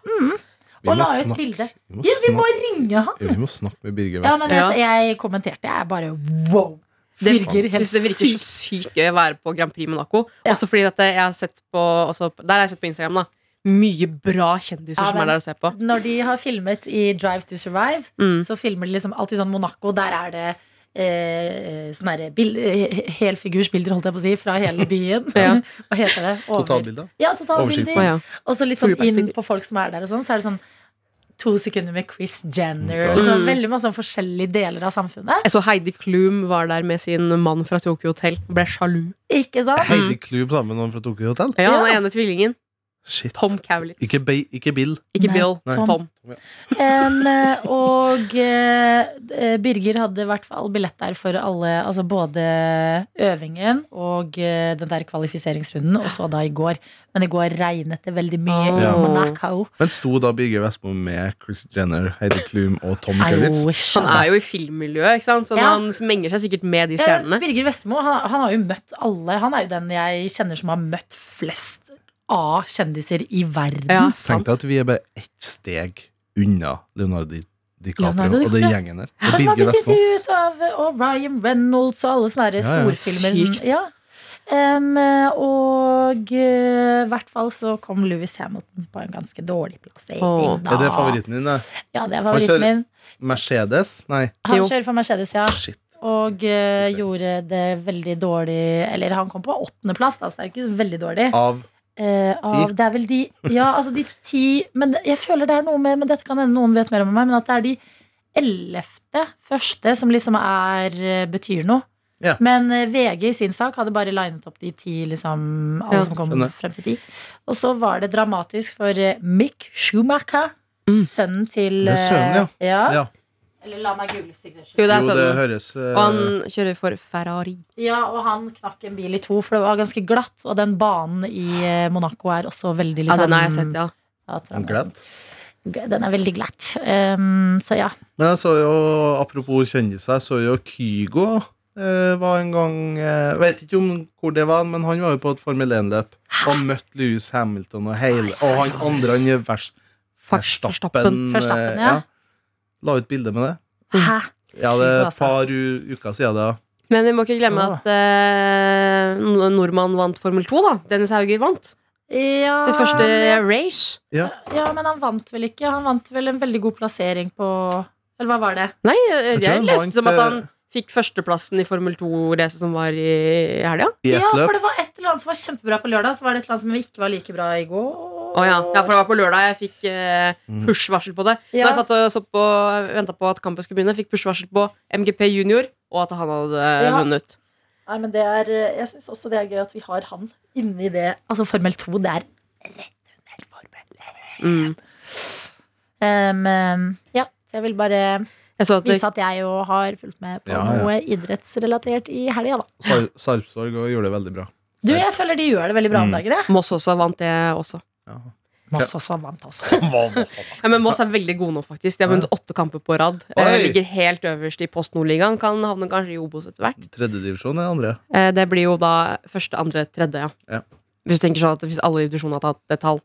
Speaker 4: vi,
Speaker 2: og
Speaker 4: må
Speaker 2: la ut
Speaker 4: snakke,
Speaker 2: bilde.
Speaker 4: vi, må
Speaker 2: Ja, vi må
Speaker 4: snakke,
Speaker 2: ringe han!
Speaker 4: vi må snakke med Birger
Speaker 2: Ja,
Speaker 4: West.
Speaker 2: men altså, jeg kommenterte. Jeg er bare wow! Virker
Speaker 3: Jeg
Speaker 2: helt
Speaker 3: synes det virker så
Speaker 2: sykt.
Speaker 3: sykt gøy å være på Grand Prix Monaco.
Speaker 2: Ja.
Speaker 3: Også fordi at jeg har sett på også, Der har jeg sett på Instagram, da. Mye bra kjendiser
Speaker 2: Ja,
Speaker 3: som
Speaker 2: men-
Speaker 3: er der å se på.
Speaker 2: Når de har filmet i Drive to Survive,
Speaker 3: Mm.
Speaker 2: så filmer de liksom alltid sånn Monaco. Der er det eh, sånne derre bil- eh, helfigursbilder, holdt jeg på å si, fra hele byen.
Speaker 3: <laughs> Ja.
Speaker 2: <laughs> Hva heter det? Over-
Speaker 4: Totalbildet.
Speaker 2: Ja, totalbilder.
Speaker 4: Oversiktsbilder.
Speaker 3: ja.
Speaker 2: Og så litt sånn inn
Speaker 3: Fullperspektiv.
Speaker 2: på folk som er der, og sånn, så er det sånn to sekunder med Chris Jenner.
Speaker 4: Ja.
Speaker 2: Og så
Speaker 3: Mm.
Speaker 2: veldig masse sånn forskjellige deler av samfunnet.
Speaker 3: Jeg så Altså, Heidi Klum var der med sin mann fra Tokyo Hotel. Ble sjalu.
Speaker 2: Ikke sant?
Speaker 4: Heidi Klub sammen med noen fra Tokyo Hotel.
Speaker 3: Ja,
Speaker 2: Ja.
Speaker 3: Den ene tvillingen.
Speaker 4: Shit.
Speaker 3: Tom Cowlitz.
Speaker 4: Ikke, Be ikke Bill.
Speaker 3: Ikke
Speaker 2: Nei,
Speaker 3: Bill.
Speaker 4: Nei.
Speaker 3: Tom.
Speaker 2: Em, eh, og eh, eh, Birger hadde i hvert fall billett der for alle, altså både øvingen og eh, den der kvalifiseringsrunden, og så da i går. Men i går regnet det veldig mye i
Speaker 4: Ah.
Speaker 2: Monaco.
Speaker 4: Men sto da Birger Westmo med Chris Jenner, Heidi Klum og Tom
Speaker 2: I
Speaker 4: Kevitz?
Speaker 2: wish,
Speaker 3: Han
Speaker 2: altså.
Speaker 3: er jo i filmmiljøet, ikke sant? så
Speaker 2: Ja.
Speaker 3: han menger seg sikkert med de
Speaker 2: Ja, men
Speaker 3: stjernene.
Speaker 2: Birger Vestmo han, han har jo møtt alle. Han er jo den jeg kjenner som har møtt flest av kjendiser i verden.
Speaker 3: Ja,
Speaker 4: Tenk
Speaker 3: sant.
Speaker 4: deg at vi er bare ett steg unna Leonardo Di- DiCaprio
Speaker 2: Leonardo
Speaker 4: og den
Speaker 2: DiCaprio.
Speaker 4: gjengen der.
Speaker 2: Han
Speaker 4: Og
Speaker 2: som har
Speaker 4: Birger
Speaker 2: blitt
Speaker 4: Westmo.
Speaker 2: intervjuet av og Ryan Reynolds og alle sånne her
Speaker 4: Ja, ja.
Speaker 2: storfilmer.
Speaker 3: Sykt.
Speaker 2: Ja. Em, og eh, i hvert fall så kom Louis Hamilton på en ganske dårlig plassering.
Speaker 3: Åh,
Speaker 2: da.
Speaker 4: Er det favoritten din? da?
Speaker 2: Ja, det er favoritten
Speaker 4: Han kjører-
Speaker 2: min.
Speaker 4: Mercedes? Nei,
Speaker 2: Han
Speaker 3: Jo.
Speaker 2: kjører for Mercedes, ja.
Speaker 4: shit.
Speaker 2: Og og eh, gjorde det veldig dårlig Eller han kom på åttendeplass, da, så det er jo ikke så veldig dårlig.
Speaker 4: Av
Speaker 2: Eh, av, det er vel de Ja, altså de ti Men det- jeg føler det er noe med Men dette kan hende noen vet mer om meg, men at det er de ellevte første som liksom er eh, betyr noe.
Speaker 4: Ja.
Speaker 2: Men eh, VG i sin sak hadde bare linet opp de ti, liksom, alle
Speaker 3: Ja.
Speaker 2: som kom
Speaker 4: Skjønner.
Speaker 2: frem til ti. Og så var det dramatisk for eh, Mick Schumacher,
Speaker 3: Mm.
Speaker 2: sønnen til
Speaker 4: Det er sønnen, ja.
Speaker 2: eh, ja.
Speaker 4: Ja.
Speaker 2: Eller la meg google for sikkerhets skyld.
Speaker 3: Jo, det er
Speaker 4: Jo, det
Speaker 3: sønnen.
Speaker 4: høres eh,
Speaker 3: Og han kjører for Ferrari.
Speaker 2: Ja, og han knakk en bil i to, for det var ganske glatt. Og den banen i eh, Monaco er også veldig
Speaker 3: Ja,
Speaker 2: liksom,
Speaker 3: den har jeg sett, ja.
Speaker 2: ja, trang og
Speaker 4: glatt.
Speaker 2: sånn. Den er veldig glatt. Um, så ja.
Speaker 4: Men jeg så jo, apropos kjendiser, jeg så jo Kygo eh, var en gang eh, Vet ikke om hvor det var, men han var jo på et Formel 1-løp og møtte Louis Hamilton og hele Og han andre, han er vers, Verstappen.
Speaker 3: Verstappen,
Speaker 2: Verstappen,
Speaker 4: eh,
Speaker 2: ja.
Speaker 4: La ut bilde med det.
Speaker 3: Mm.
Speaker 2: Hæ?
Speaker 4: Ja,
Speaker 2: Kygo,
Speaker 4: det er et
Speaker 2: altså.
Speaker 4: par u uker siden det.
Speaker 3: Men vi må ikke glemme
Speaker 2: Åh.
Speaker 3: at eh, no- nordmannen vant Formel 2, da. Dennis Hauger vant.
Speaker 2: Ja,
Speaker 3: Sitt første
Speaker 2: men-
Speaker 3: race.
Speaker 2: ja, men han vant vel ikke. Han vant vel en veldig god plassering på Eller hva var det?
Speaker 3: Nei, jeg,
Speaker 4: tror
Speaker 3: jeg
Speaker 4: han
Speaker 3: leste
Speaker 4: vant,
Speaker 3: som at
Speaker 4: eh,
Speaker 3: han fikk førsteplassen i Formel 2-racet som var i helga.
Speaker 4: I ett
Speaker 2: Ja, for
Speaker 4: løp.
Speaker 2: det var et eller annet som var kjempebra på lørdag, så var det et eller annet som ikke var like bra i går.
Speaker 3: Å ja. ja, for det var på lørdag jeg fikk eh,
Speaker 4: Mm.
Speaker 3: push-varsel på det.
Speaker 2: Ja.
Speaker 3: Da jeg satt og så på, venta på at kampen skulle begynne, fikk push-varsel på MGP junior, og at han hadde eh,
Speaker 2: Ja.
Speaker 3: vunnet.
Speaker 2: Nei, men det er, eh, Jeg syns også det er gøy at vi har han inni det. Altså Formel 2, det er rett under Formel
Speaker 3: Mm.
Speaker 2: Um, um, ja, så jeg vil bare
Speaker 3: Jeg så at det,
Speaker 2: vise at jeg jo har fulgt med på
Speaker 4: Ja, ja.
Speaker 2: noe idrettsrelatert i helga, da.
Speaker 4: Sar Sarpsborg og gjorde det veldig bra.
Speaker 2: Du, jeg føler de gjør det veldig bra om
Speaker 4: Mm.
Speaker 2: dagen, jeg.
Speaker 3: Moss også vant det også.
Speaker 4: Ja.
Speaker 2: Moss også vant, altså.
Speaker 3: Ja, men Moss er veldig gode nå, faktisk. De har vunnet åtte kamper på rad. Eh,
Speaker 4: Oi.
Speaker 3: Ligger helt øverst i Post Nordligaen. Kan havne kanskje i Obos etter hvert.
Speaker 4: Tredjedivisjon er andre.
Speaker 3: Eh, Det blir jo da første, andre, tredje, ja.
Speaker 4: Ja.
Speaker 3: Hvis du tenker sånn at hvis alle i divisjonen har tatt et tall.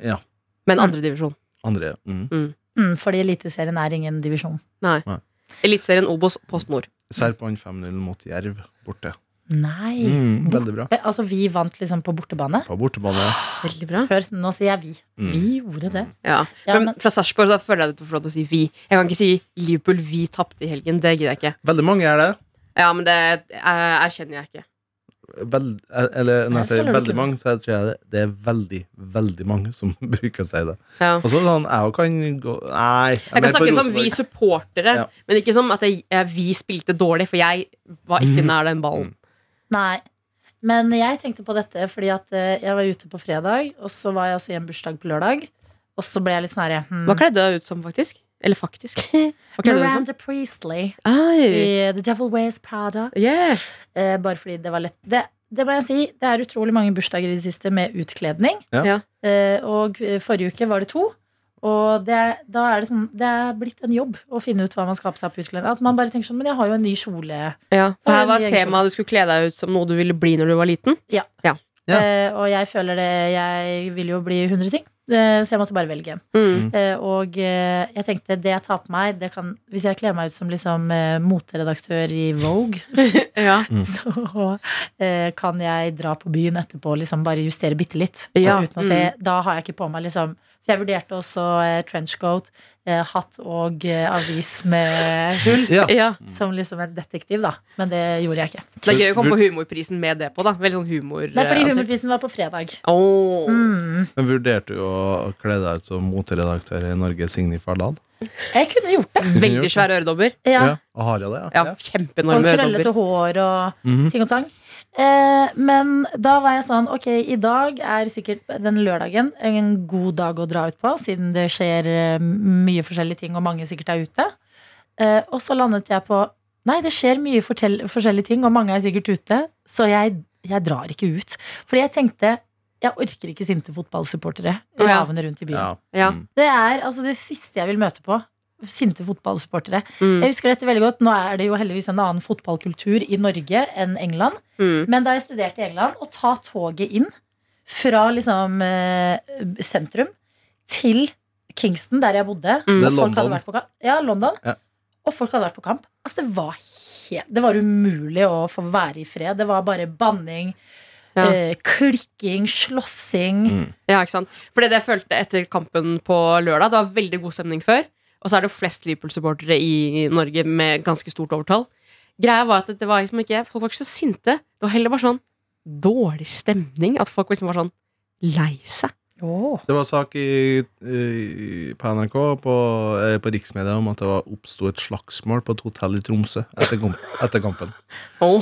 Speaker 4: Ja. Mm.
Speaker 3: Men andre divisjon.
Speaker 4: Andre, mm.
Speaker 2: Mm, fordi Eliteserien er ingen divisjon.
Speaker 3: Nei.
Speaker 4: Nei.
Speaker 3: Eliteserien Obos, Post Nord.
Speaker 4: Serp vant 5-0 mot Jerv borte.
Speaker 2: Nei.
Speaker 4: Mm, veldig bra.
Speaker 2: Eh, Altså, vi vant liksom på bortebane.
Speaker 4: På bortebane.
Speaker 3: Veldig bra.
Speaker 2: Hør, nå sier jeg vi.
Speaker 4: Mm.
Speaker 2: Vi gjorde det.
Speaker 3: Ja.
Speaker 2: Ja,
Speaker 3: men,
Speaker 2: men-
Speaker 3: fra Sarpsborg så føler jeg det er for lov til å si vi. Jeg kan ikke si Liverpool, vi tapte i helgen. Det gidder jeg ikke.
Speaker 4: Veldig mange er det.
Speaker 3: Ja, men det eh, erkjenner jeg ikke.
Speaker 4: Veld, eh, eller når
Speaker 2: Nei,
Speaker 4: jeg sier
Speaker 2: føler du
Speaker 4: veldig
Speaker 2: ikke
Speaker 4: mange, så tror jeg det, det er veldig, veldig mange som <laughs> bruker å si det.
Speaker 3: Ja.
Speaker 4: Og så er det sånn, jeg også kan gå Nei. Jeg,
Speaker 3: Jeg
Speaker 4: er mer
Speaker 3: kan
Speaker 4: på
Speaker 3: snakke som vi
Speaker 4: Rosenborg.
Speaker 3: supportere,
Speaker 4: Ja.
Speaker 3: men ikke som at jeg, eh, vi spilte dårlig, for jeg var ikke nær den ballen.
Speaker 2: Nei. Men jeg tenkte på dette fordi at eh, jeg var ute på fredag, og så var jeg også i en bursdag på lørdag. Og så ble jeg litt sånn herre hmm.
Speaker 3: Hva kledde du deg ut som, faktisk? Eller faktisk? <laughs> Hva kledde du deg ut som?
Speaker 2: Miranda Priestley
Speaker 3: Ai,
Speaker 2: i The Devil Wears Prada.
Speaker 3: yeah.
Speaker 2: Eh, bare fordi det var lett. Det, det må jeg si, det er utrolig mange bursdager i det siste med utkledning.
Speaker 4: Ja.
Speaker 3: Ja.
Speaker 2: Eh, og eh, forrige uke var det to. Og det, er- da er det sånn Det er blitt en jobb å finne ut hva man skal ha på seg på utkledning. At man bare tenker sånn Men jeg har jo en ny kjole.
Speaker 3: Ja,
Speaker 2: Ja,
Speaker 3: for her var
Speaker 2: det er
Speaker 3: temaet du skulle kle deg ut som noe du ville bli når du var liten.
Speaker 4: Ja.
Speaker 2: Eh, og jeg føler det Jeg vil jo bli 100 ting. Eh, så jeg måtte bare velge en.
Speaker 3: Mm.
Speaker 2: Eh, og eh, jeg tenkte det jeg tar på meg, det kan Hvis jeg kler meg ut som liksom eh, moteredaktør i Vogue,
Speaker 3: Ja.
Speaker 2: <laughs> så eh, kan jeg dra på byen etterpå og liksom bare justere bitte litt. Så
Speaker 3: Ja,
Speaker 2: Uten å se, Da har jeg ikke på meg liksom For jeg vurderte også eh, trenchcoat, eh, hatt og eh, avis med hull.
Speaker 4: Ja.
Speaker 3: ja.
Speaker 2: Som liksom en detektiv, da. Men det gjorde jeg ikke.
Speaker 3: Det er gøy å komme på humorprisen med det på, da. Veldig sånn humor.
Speaker 2: Nei, fordi humorprisen var på fredag.
Speaker 3: Åh.
Speaker 2: Mm.
Speaker 4: Men vurderte du å kle deg ut som moteredaktør i Norge, Signe Fardal?
Speaker 2: Jeg kunne gjort det.
Speaker 3: Veldig svære øredobber.
Speaker 2: Ja.
Speaker 4: Og har jeg det, ja?
Speaker 3: Ja,
Speaker 4: Ja.
Speaker 2: Og
Speaker 3: kjempeenorme øredobber.
Speaker 2: krøllete hår og
Speaker 4: Mhm.
Speaker 2: ting og tang. Eh, men da var jeg sånn Ok, i dag er sikkert den lørdagen en god dag å dra ut på, siden det skjer eh, mye forskjellige ting, og mange sikkert er ute. Eh, og så landet jeg på Nei, det skjer mye fortell, forskjellige ting, og mange er sikkert ute, så jeg, jeg drar ikke ut. Fordi jeg tenkte jeg orker ikke sinte fotballsupportere
Speaker 3: Ja.
Speaker 2: ravende rundt i byen.
Speaker 4: Ja.
Speaker 3: Ja.
Speaker 4: Mm.
Speaker 2: Det er altså det siste jeg vil møte på. Sinte fotballsupportere.
Speaker 3: Mm.
Speaker 2: Jeg husker dette veldig godt. Nå er det jo heldigvis en annen fotballkultur i Norge enn England.
Speaker 3: Mm.
Speaker 2: Men da jeg studerte i England, å ta toget inn fra liksom eh, sentrum til Kingston, der jeg bodde
Speaker 3: Mm.
Speaker 4: Det er
Speaker 2: og folk hadde
Speaker 4: London.
Speaker 2: vært på kamp. Ja, London.
Speaker 4: Ja.
Speaker 2: Og folk hadde vært på kamp. Altså, det var helt Det var umulig å få være i fred. Det var bare banning,
Speaker 3: Ja.
Speaker 2: eh, klikking, slåssing.
Speaker 4: Mm.
Speaker 3: ja, ikke sant. For det jeg følte etter kampen på lørdag, det var veldig god stemning før. Og så er det jo flest Liverpool-supportere i Norge med ganske stort overtall. Greia var at det var liksom ikke Folk var ikke så sinte. Det var heller bare sånn dårlig stemning. At folk liksom var sånn lei seg.
Speaker 2: Åh.
Speaker 4: Det var sak i, i, på NRK på, eh, på riksmedia om at det var oppsto et slagsmål på et hotell i Tromsø etter, kom, etter kampen.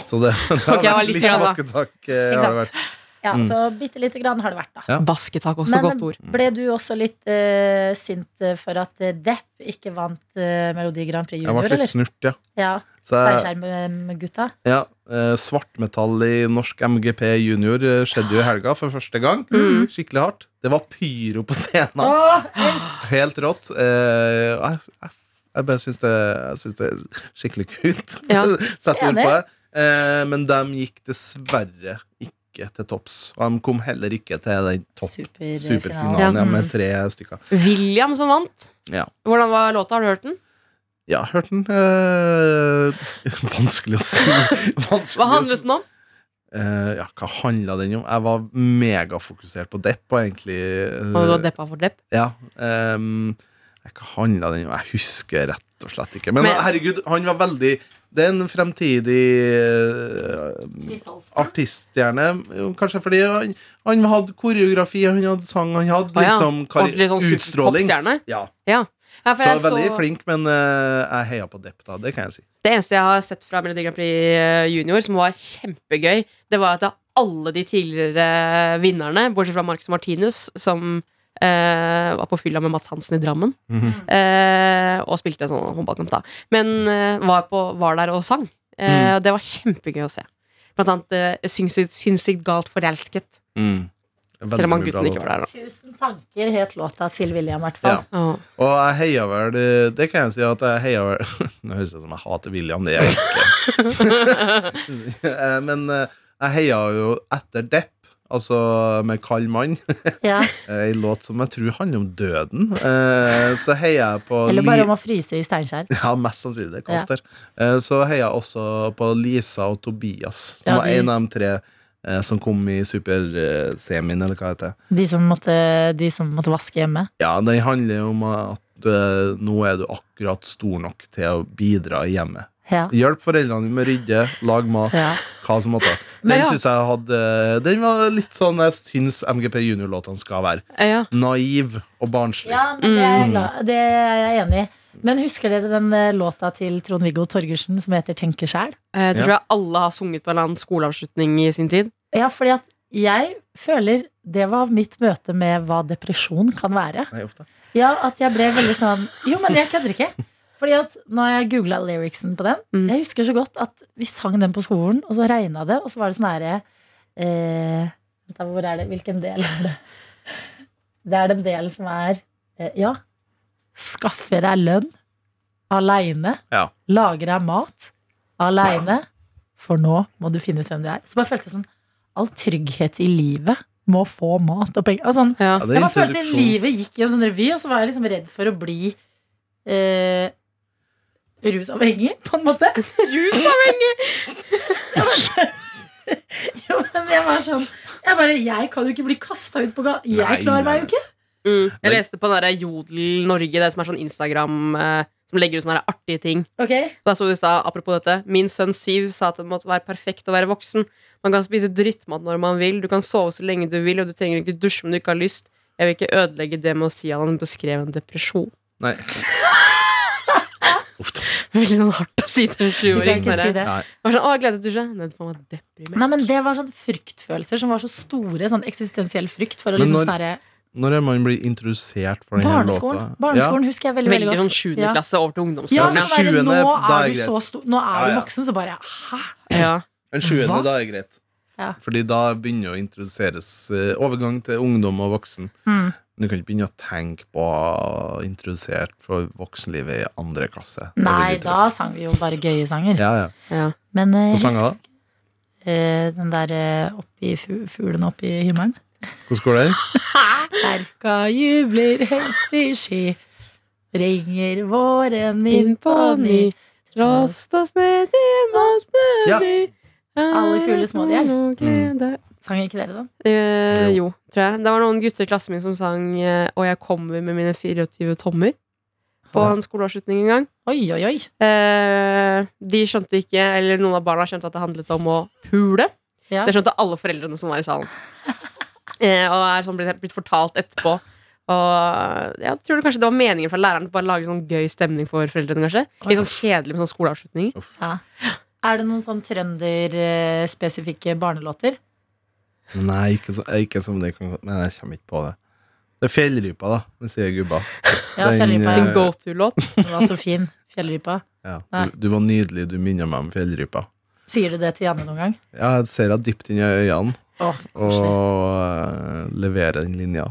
Speaker 4: Så det, det har
Speaker 3: Ok, det var
Speaker 4: vært
Speaker 3: litt
Speaker 4: litt
Speaker 3: redd, da.
Speaker 4: vasketak.
Speaker 2: Ikke
Speaker 4: eh, har det
Speaker 2: sant?
Speaker 4: vært.
Speaker 2: Ja,
Speaker 4: Mm.
Speaker 2: så bitte lite grann har det vært, da.
Speaker 4: Ja.
Speaker 3: Basketak, også
Speaker 2: Men
Speaker 3: godt ord.
Speaker 2: ble du også litt eh, sint eh, for at eh, Depp ikke vant eh, Melodi Grand Prix
Speaker 4: Jeg
Speaker 2: Junior,
Speaker 4: ble litt
Speaker 2: eller?
Speaker 4: snurt, ja.
Speaker 2: Ja,
Speaker 4: Så jeg,
Speaker 2: Steinskjerm-gutta.
Speaker 4: ja eh, svartmetall i norsk MGP junior eh, skjedde jo i helga for første gang.
Speaker 3: Mm.
Speaker 4: Skikkelig hardt. Det var pyro på scenen.
Speaker 2: Åh,
Speaker 4: Helt rått. Eh, jeg, jeg, jeg bare syns det, jeg syns det er skikkelig kult.
Speaker 3: Ja.
Speaker 4: <laughs> Setter ord
Speaker 2: Enig.
Speaker 4: på det. Eh, men de gikk dessverre ikke til topps. Og de kom heller ikke til den topp
Speaker 2: super-
Speaker 4: superfinalen ja,
Speaker 2: Mm.
Speaker 4: med tre stykker.
Speaker 3: William som vant.
Speaker 4: Ja.
Speaker 3: Hvordan var låta? Har du hørt den?
Speaker 4: Ja, hørte den eh, <laughs> Vanskelig å si. Vanskelig
Speaker 3: Hva
Speaker 4: å si.
Speaker 3: handlet den om?
Speaker 4: Eh, ja, hva handla den om? Jeg var megafokusert på depp, og egentlig eh,
Speaker 3: Og du var deppa for depp?
Speaker 4: Ja. ehm, nei, hva handla den om? Jeg husker rett og slett ikke. Men,
Speaker 3: Men-
Speaker 4: herregud, han var veldig Det er en fremtidig eh, artiststjerne. jo, Kanskje fordi han, han hadde koreografi, han hadde sang, han hadde
Speaker 3: Å ja,
Speaker 4: liksom kar-
Speaker 3: Ordentlig sånn
Speaker 4: utstråling.
Speaker 3: superpopstjerne?
Speaker 4: Ja,
Speaker 3: Ja, for
Speaker 4: så
Speaker 3: jeg
Speaker 4: veldig flink, men eh, jeg heia på Depp, da. Det kan jeg si.
Speaker 3: Det eneste jeg har sett fra Melodi Grand Prix eh, junior, som var kjempegøy, det var at alle de tidligere vinnerne, bortsett fra Marcus Martinus, som eh, var på fylla med Mads Hansen i Drammen, eh, og spilte en sånn håndballkamp, da, men eh, var, på, var der og sang.
Speaker 4: Mm.
Speaker 3: Eh, og Det var kjempegøy å se. Blant annet eh, syns, syns jeg galt forelsket.
Speaker 4: Mm.
Speaker 3: Selv om han
Speaker 4: mye bra
Speaker 3: gutten ikke
Speaker 4: låter.
Speaker 3: var der, da.
Speaker 2: Tusen tanker het låta til William, i hvert
Speaker 4: Ja.
Speaker 2: fall.
Speaker 3: Åh.
Speaker 4: Og jeg heier vel det- Det kan jeg si at jeg heier vel <laughs> Nå høres det ut som jeg hater William, det gjør jeg
Speaker 3: <laughs>
Speaker 4: ikke. Eh, Men eh, jeg heia jo etter Depp, altså med Kald mann,
Speaker 2: Ja.
Speaker 4: ei låt som jeg tror handler om døden. Eh, Så heier jeg på
Speaker 2: Eller bare
Speaker 4: Li-
Speaker 2: om å fryse i Steinkjer.
Speaker 4: ja, mest sannsynlig. Det er kaldt der. Eh, Så heier jeg også på Lisa og Tobias, som
Speaker 2: Ja,
Speaker 4: var
Speaker 2: de-
Speaker 4: en av de tre eh, som kom i supersemien, eller hva det heter.
Speaker 2: De som måtte, de som måtte vaske hjemme.
Speaker 4: Ja, den handler jo om at eh, nå er du akkurat stor nok til å bidra i hjemmet.
Speaker 2: Ja.
Speaker 4: Hjelp foreldrene med å rydde, lag mat,
Speaker 2: Ja.
Speaker 4: hva som måtte.
Speaker 3: Men
Speaker 4: Den
Speaker 3: ja.
Speaker 4: synes jeg hadde Den var litt sånn jeg syns MGP Junior-låtene skal være.
Speaker 3: Eh, ja.
Speaker 4: Naiv og barnslig.
Speaker 2: ja, men det er jeg, glad. Det er jeg enig i. Men husker dere den eh, låta til Trond-Viggo Torgersen som heter 'Tenker sjæl'?
Speaker 3: Eh, det
Speaker 4: Ja.
Speaker 3: tror jeg alle har sunget på en eller annen skoleavslutning i sin tid.
Speaker 2: Ja, fordi at jeg føler det var mitt møte med hva depresjon kan være.
Speaker 4: Nei, ofte.
Speaker 2: Ja, at jeg ble veldig sånn Jo, men jeg kødder ikke. Fordi at når jeg googla lyricsen på den
Speaker 3: Mm.
Speaker 2: Jeg husker så godt at vi sang den på skolen, og så regna det, og så var det sånn herre eh, vent da, Hvor er det? Hvilken del er det? Det er den delen som er eh, Ja. Skaffer deg lønn aleine.
Speaker 4: Ja.
Speaker 2: Lager deg mat aleine. For nå må du finne ut hvem du er. Så bare følte jeg sånn All trygghet i livet må få mat og penger. Altså, sånn,
Speaker 3: Ja.
Speaker 4: Ja, det
Speaker 2: jeg
Speaker 4: er
Speaker 2: bare følte
Speaker 4: introduksjon.
Speaker 2: livet gikk i en sånn revy, og så var jeg liksom redd for å bli eh, rusavhengig, på en måte.
Speaker 3: <laughs> Rusavhengig!
Speaker 2: <laughs> Jo, men jeg var sånn Jeg bare, jeg kan jo ikke bli kasta ut på gata.
Speaker 4: Nei,
Speaker 2: Jeg klarer meg
Speaker 4: nei,
Speaker 2: jo ikke.
Speaker 3: Mm.
Speaker 4: Men-
Speaker 3: Jeg leste på den der Jodel Norge, det som er sånn Instagram eh, som legger ut sånne der artige ting.
Speaker 2: Ok,
Speaker 3: Da sto det i stad, apropos dette, min sønn Syv sa at det måtte være perfekt å være voksen. Man kan spise drittmat når man vil, du kan sove så lenge du vil, og du trenger ikke dusje om du ikke har lyst. Jeg vil ikke ødelegge det med å si at han beskrev en depresjon.
Speaker 4: Nei.
Speaker 3: Veldig sånn hardt å si
Speaker 2: du
Speaker 3: til <laughs> en
Speaker 2: kan
Speaker 3: sjuåring.
Speaker 2: ikke
Speaker 3: Sånn,
Speaker 2: si
Speaker 3: der.
Speaker 2: det.
Speaker 4: Nei.
Speaker 3: Jeg var sånn, å, jeg gleder meg til å dusje. Nei, det får meg deprimert.
Speaker 2: Nei, men Det var sånn fryktfølelser som var så store. Sånn eksistensiell frykt. For å
Speaker 4: Men
Speaker 2: liksom
Speaker 4: når-
Speaker 2: sånn herre-
Speaker 4: Når er man blir introdusert for denne låta?
Speaker 2: barneskolen Barneskolen husker jeg veldig veldig
Speaker 3: Veldig
Speaker 2: godt.
Speaker 3: sånn sjuende
Speaker 2: Ja.
Speaker 3: klasse over til
Speaker 2: Ja, men
Speaker 3: ungdomsskolen.
Speaker 4: Ja,
Speaker 3: Ja.
Speaker 2: sånn derre,
Speaker 4: sjuende,
Speaker 2: nå
Speaker 4: da
Speaker 2: er
Speaker 4: er
Speaker 2: du
Speaker 4: det
Speaker 2: så
Speaker 4: greit.
Speaker 2: stor Nå er
Speaker 4: Ja,
Speaker 2: du
Speaker 4: ja.
Speaker 2: voksen, så bare Hæ?
Speaker 3: Ja.
Speaker 4: Den sjuende,
Speaker 2: Hva?
Speaker 4: da er greit.
Speaker 2: Ja.
Speaker 4: Fordi da begynner å introduseres eh, overgang til ungdom og voksen.
Speaker 2: Hmm.
Speaker 4: Men Du kan ikke begynne å tenke på å introdusert for voksenlivet i andre klasse. Det er
Speaker 2: Nei,
Speaker 4: veldig
Speaker 2: da
Speaker 4: tøft.
Speaker 2: sang vi jo bare gøye sanger.
Speaker 4: Ja, ja.
Speaker 3: Ja.
Speaker 2: Men eh,
Speaker 4: Hva
Speaker 2: husk
Speaker 4: sanger da?
Speaker 2: eh, den der eh, oppi fu fuglen oppi himmelen.
Speaker 4: Hvordan går det?
Speaker 2: Erka jubler høyt i sky. Ringer våren inn på ny.
Speaker 3: Trost oss ned i måten
Speaker 4: Ja.
Speaker 2: Alle Mm. fugler små de er. Sang ikke dere den?
Speaker 3: Eh, jo, tror jeg. Det var noen gutter i klassen min som sang eh, Og jeg kommer med mine 24 tommer. på
Speaker 4: Ja.
Speaker 3: en skoleavslutning en gang.
Speaker 2: Oi, oi, oi.
Speaker 3: Eh, de skjønte ikke, eller noen av barna skjønte at det handlet om å pule.
Speaker 2: Ja.
Speaker 3: Det skjønte alle foreldrene som var
Speaker 2: <laughs>
Speaker 3: i salen. Eh, og er sånn blitt, blitt fortalt etterpå. Og jeg tror det kanskje det var meningen fra læreren å bare lage sånn gøy stemning for foreldrene. kanskje Litt sånn kjedelig med sånn skoleavslutning.
Speaker 2: Er det noen sånn trønderspesifikke barnelåter?
Speaker 4: Nei, ikke, så, ikke som det kan Men jeg kommer ikke på det. Det er Fjellrypa, da, men sier gubba.
Speaker 2: Ja,
Speaker 4: Den,
Speaker 2: Fjellrypa.
Speaker 3: En
Speaker 4: eh,
Speaker 3: go to-låt.
Speaker 2: Den var så fin. Fjellrypa.
Speaker 4: Ja.
Speaker 2: Nei.
Speaker 4: Du, du var nydelig, du minner meg om fjellrypa.
Speaker 2: Sier du det til Janne noen gang?
Speaker 4: Ja, jeg ser henne dypt inn i øynene
Speaker 2: Å,
Speaker 4: og
Speaker 2: koselig.
Speaker 4: eh, leverer den linja.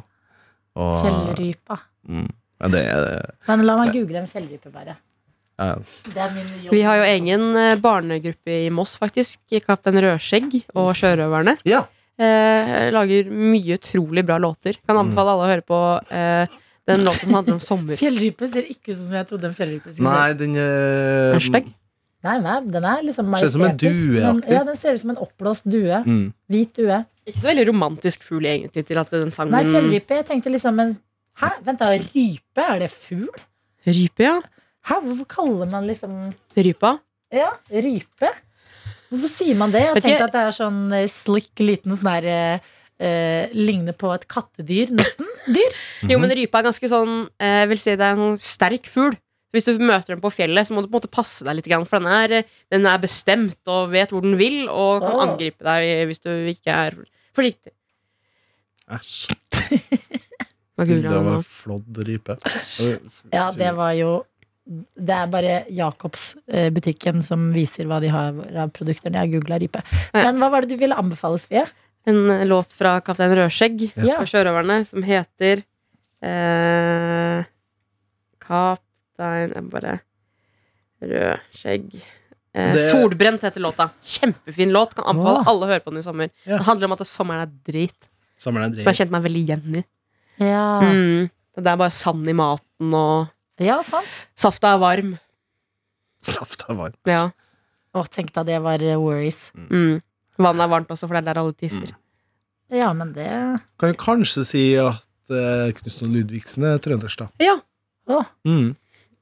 Speaker 4: Og,
Speaker 2: Fjellrypa.
Speaker 4: Mm, ja, det er
Speaker 2: Men la meg google en fjellrype, bare.
Speaker 4: ja,
Speaker 2: Det er min jobb.
Speaker 3: Vi har jo egen eh, barnegruppe i Moss, faktisk. Kaptein Rødskjegg og Sjørøverne.
Speaker 4: Ja.
Speaker 3: Eh, lager mye utrolig bra låter. Kan
Speaker 2: Mm.
Speaker 3: anbefale alle å høre på eh, den låten som handler
Speaker 2: <laughs>
Speaker 3: om sommer.
Speaker 2: Fjellrype ser ikke ut som jeg trodde en fjellrype skulle se
Speaker 4: Nei,
Speaker 2: ut.
Speaker 4: den eh,
Speaker 3: Hashtag.
Speaker 2: Nei, nei, den er liksom
Speaker 4: Ser ut som en
Speaker 2: majestetisk, men-
Speaker 4: dueaktig.
Speaker 2: Ja, den ser ut som en oppblåst due.
Speaker 4: Mm.
Speaker 2: Hvit due.
Speaker 3: Ikke så veldig romantisk fugl, egentlig, til at den sangen
Speaker 4: Mm.
Speaker 2: Nei, fjellrype. Jeg tenkte liksom en Hæ, vent da, rype? Er det fugl?
Speaker 3: Rype, ja.
Speaker 2: Hæ, hvorfor kaller man liksom
Speaker 3: Rypa.
Speaker 2: Ja, rype? Hvorfor sier man det? Jeg
Speaker 3: Vet
Speaker 2: tenkte
Speaker 3: ikke-
Speaker 2: at det er sånn eh, slick liten sånn der eh, eh, Ligner på et kattedyr, nesten. Dyr.
Speaker 3: Jo, men rypa er ganske sånn eh, Jeg vil si det er en sånn sterk fugl. Hvis du møter den på fjellet, så må du på en måte passe deg litt. grann, For den er, eh, den er bestemt og vet hvor den vil, og kan
Speaker 4: Ah.
Speaker 2: Åh.
Speaker 3: angripe deg hvis du ikke er forsiktig.
Speaker 4: Æsj.
Speaker 3: Hva
Speaker 4: Det
Speaker 3: gulrøtter er
Speaker 4: var
Speaker 3: nå?
Speaker 4: en flådd rype.
Speaker 2: Ja, det var jo Det er bare Jacobs-butikken som viser hva de har av produkter. Når jeg googla rype.
Speaker 3: Ja.
Speaker 2: Men hva var det du ville anbefale, Sofie?
Speaker 3: En eh, låt fra Kaptein Rødskjegg
Speaker 2: Ja.
Speaker 3: og Sjørøverne som heter eh, Kaptein Jeg bare Rødskjegg eh,
Speaker 4: Det- Ah.
Speaker 3: Solbrent heter låta. Kjempefin låt. Kan anbefale
Speaker 2: Åh.
Speaker 3: alle å høre på den i sommer.
Speaker 4: Ja.
Speaker 3: Det handler om at sommeren er drit.
Speaker 4: Samler
Speaker 3: Som jeg
Speaker 4: deg en drink.
Speaker 3: kjente meg veldig igjen i.
Speaker 2: Ja,
Speaker 3: Mm. Det er bare sand i maten, og
Speaker 2: ja sant?
Speaker 3: safta er varm.
Speaker 4: Saft er varm.
Speaker 3: Ja.
Speaker 2: Å, tenk da det var eh, worries.
Speaker 3: Mm. Vannet er varmt også, for det er der alle tisser.
Speaker 2: Ja, men det
Speaker 4: Kan jo kanskje si at eh, Knutsen og Ludvigsen er trøndersk, da.
Speaker 2: Å,
Speaker 4: Mm.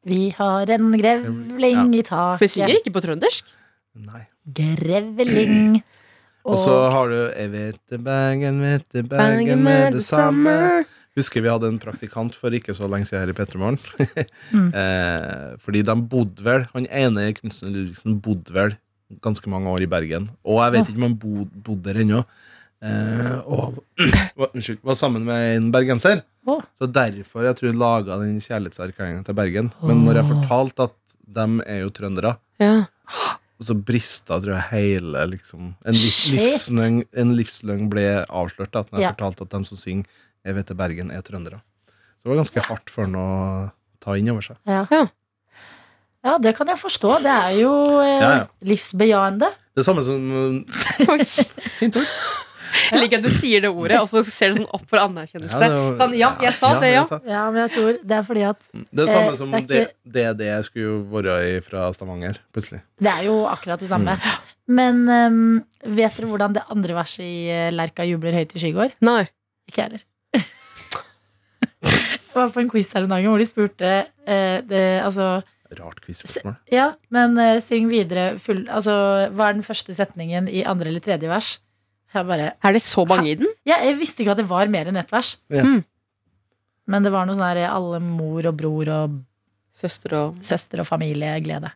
Speaker 2: vi har en grevling i
Speaker 3: Vi synger
Speaker 2: taket.
Speaker 3: ikke på trøndersk.
Speaker 4: Nei.
Speaker 2: Grevling.
Speaker 4: <clears throat> Og så har du Jeg vet det, Bergen, vet det, Bergen med det samme. Husker vi hadde en praktikant for ikke så lenge siden her i <laughs> Petremorgen.
Speaker 2: Mm.
Speaker 4: eh, fordi de bodde vel Han ene Knutsen og Ludvigsen bodde vel ganske mange år i Bergen. Og jeg vet ikke om han bo, bodde der ennå. Eh, og <clears throat> var- unnskyld, var sammen med en bergenser.
Speaker 2: Å.
Speaker 4: Så derfor jeg tror jeg laga den kjærlighetserklæringa til Bergen. Men når jeg fortalte at de er jo trøndere,
Speaker 3: Ja.
Speaker 4: så brista tror jeg hele liksom, en, liv,
Speaker 2: Shit.
Speaker 4: livsløgn, en livsløgn ble avslørt da, når jeg
Speaker 2: Ja.
Speaker 4: fortalte at de som synger 'Jeg vet det, Bergen', er trøndere. Så det var ganske hardt for han å ta inn over seg.
Speaker 2: Ja.
Speaker 3: Ja.
Speaker 2: ja, det kan jeg forstå. Det er jo eh,
Speaker 4: Ja, ja.
Speaker 2: livsbejaende.
Speaker 4: Det samme som eh,
Speaker 3: Oi.
Speaker 4: Fint ord.
Speaker 3: Jeg liker at du sier det ordet, og så ser du sånn opp for anerkjennelse. sånn, ja, jeg sa det, ja.
Speaker 4: jeg sa.
Speaker 2: Ja, men jeg tror det er fordi at
Speaker 4: Det er samme
Speaker 2: Eh,
Speaker 4: som
Speaker 2: det er
Speaker 4: det,
Speaker 2: ikke-
Speaker 4: det, det jeg skulle jo være i fra Stavanger, plutselig.
Speaker 2: Det er jo akkurat det samme. Men ehm, vet dere hvordan det andre verset i eh, Lerka jubler høyt i skygård?
Speaker 3: Nei.
Speaker 2: Ikke jeg heller. <laughs> Jeg var på en quiz her om dagen hvor de spurte eh, det, altså,
Speaker 4: Rart quiz-spørsmål.
Speaker 2: Ja, men eh, syng videre full, altså, Hva er den første setningen i andre eller tredje vers? Jeg bare
Speaker 3: Er det så mange i den?
Speaker 2: Ja, jeg visste ikke at det var mer enn ett vers.
Speaker 4: Ja.
Speaker 3: Mm.
Speaker 2: Men det var noe sånn her alle mor og bror og
Speaker 3: Søster og
Speaker 2: søster og familie glede.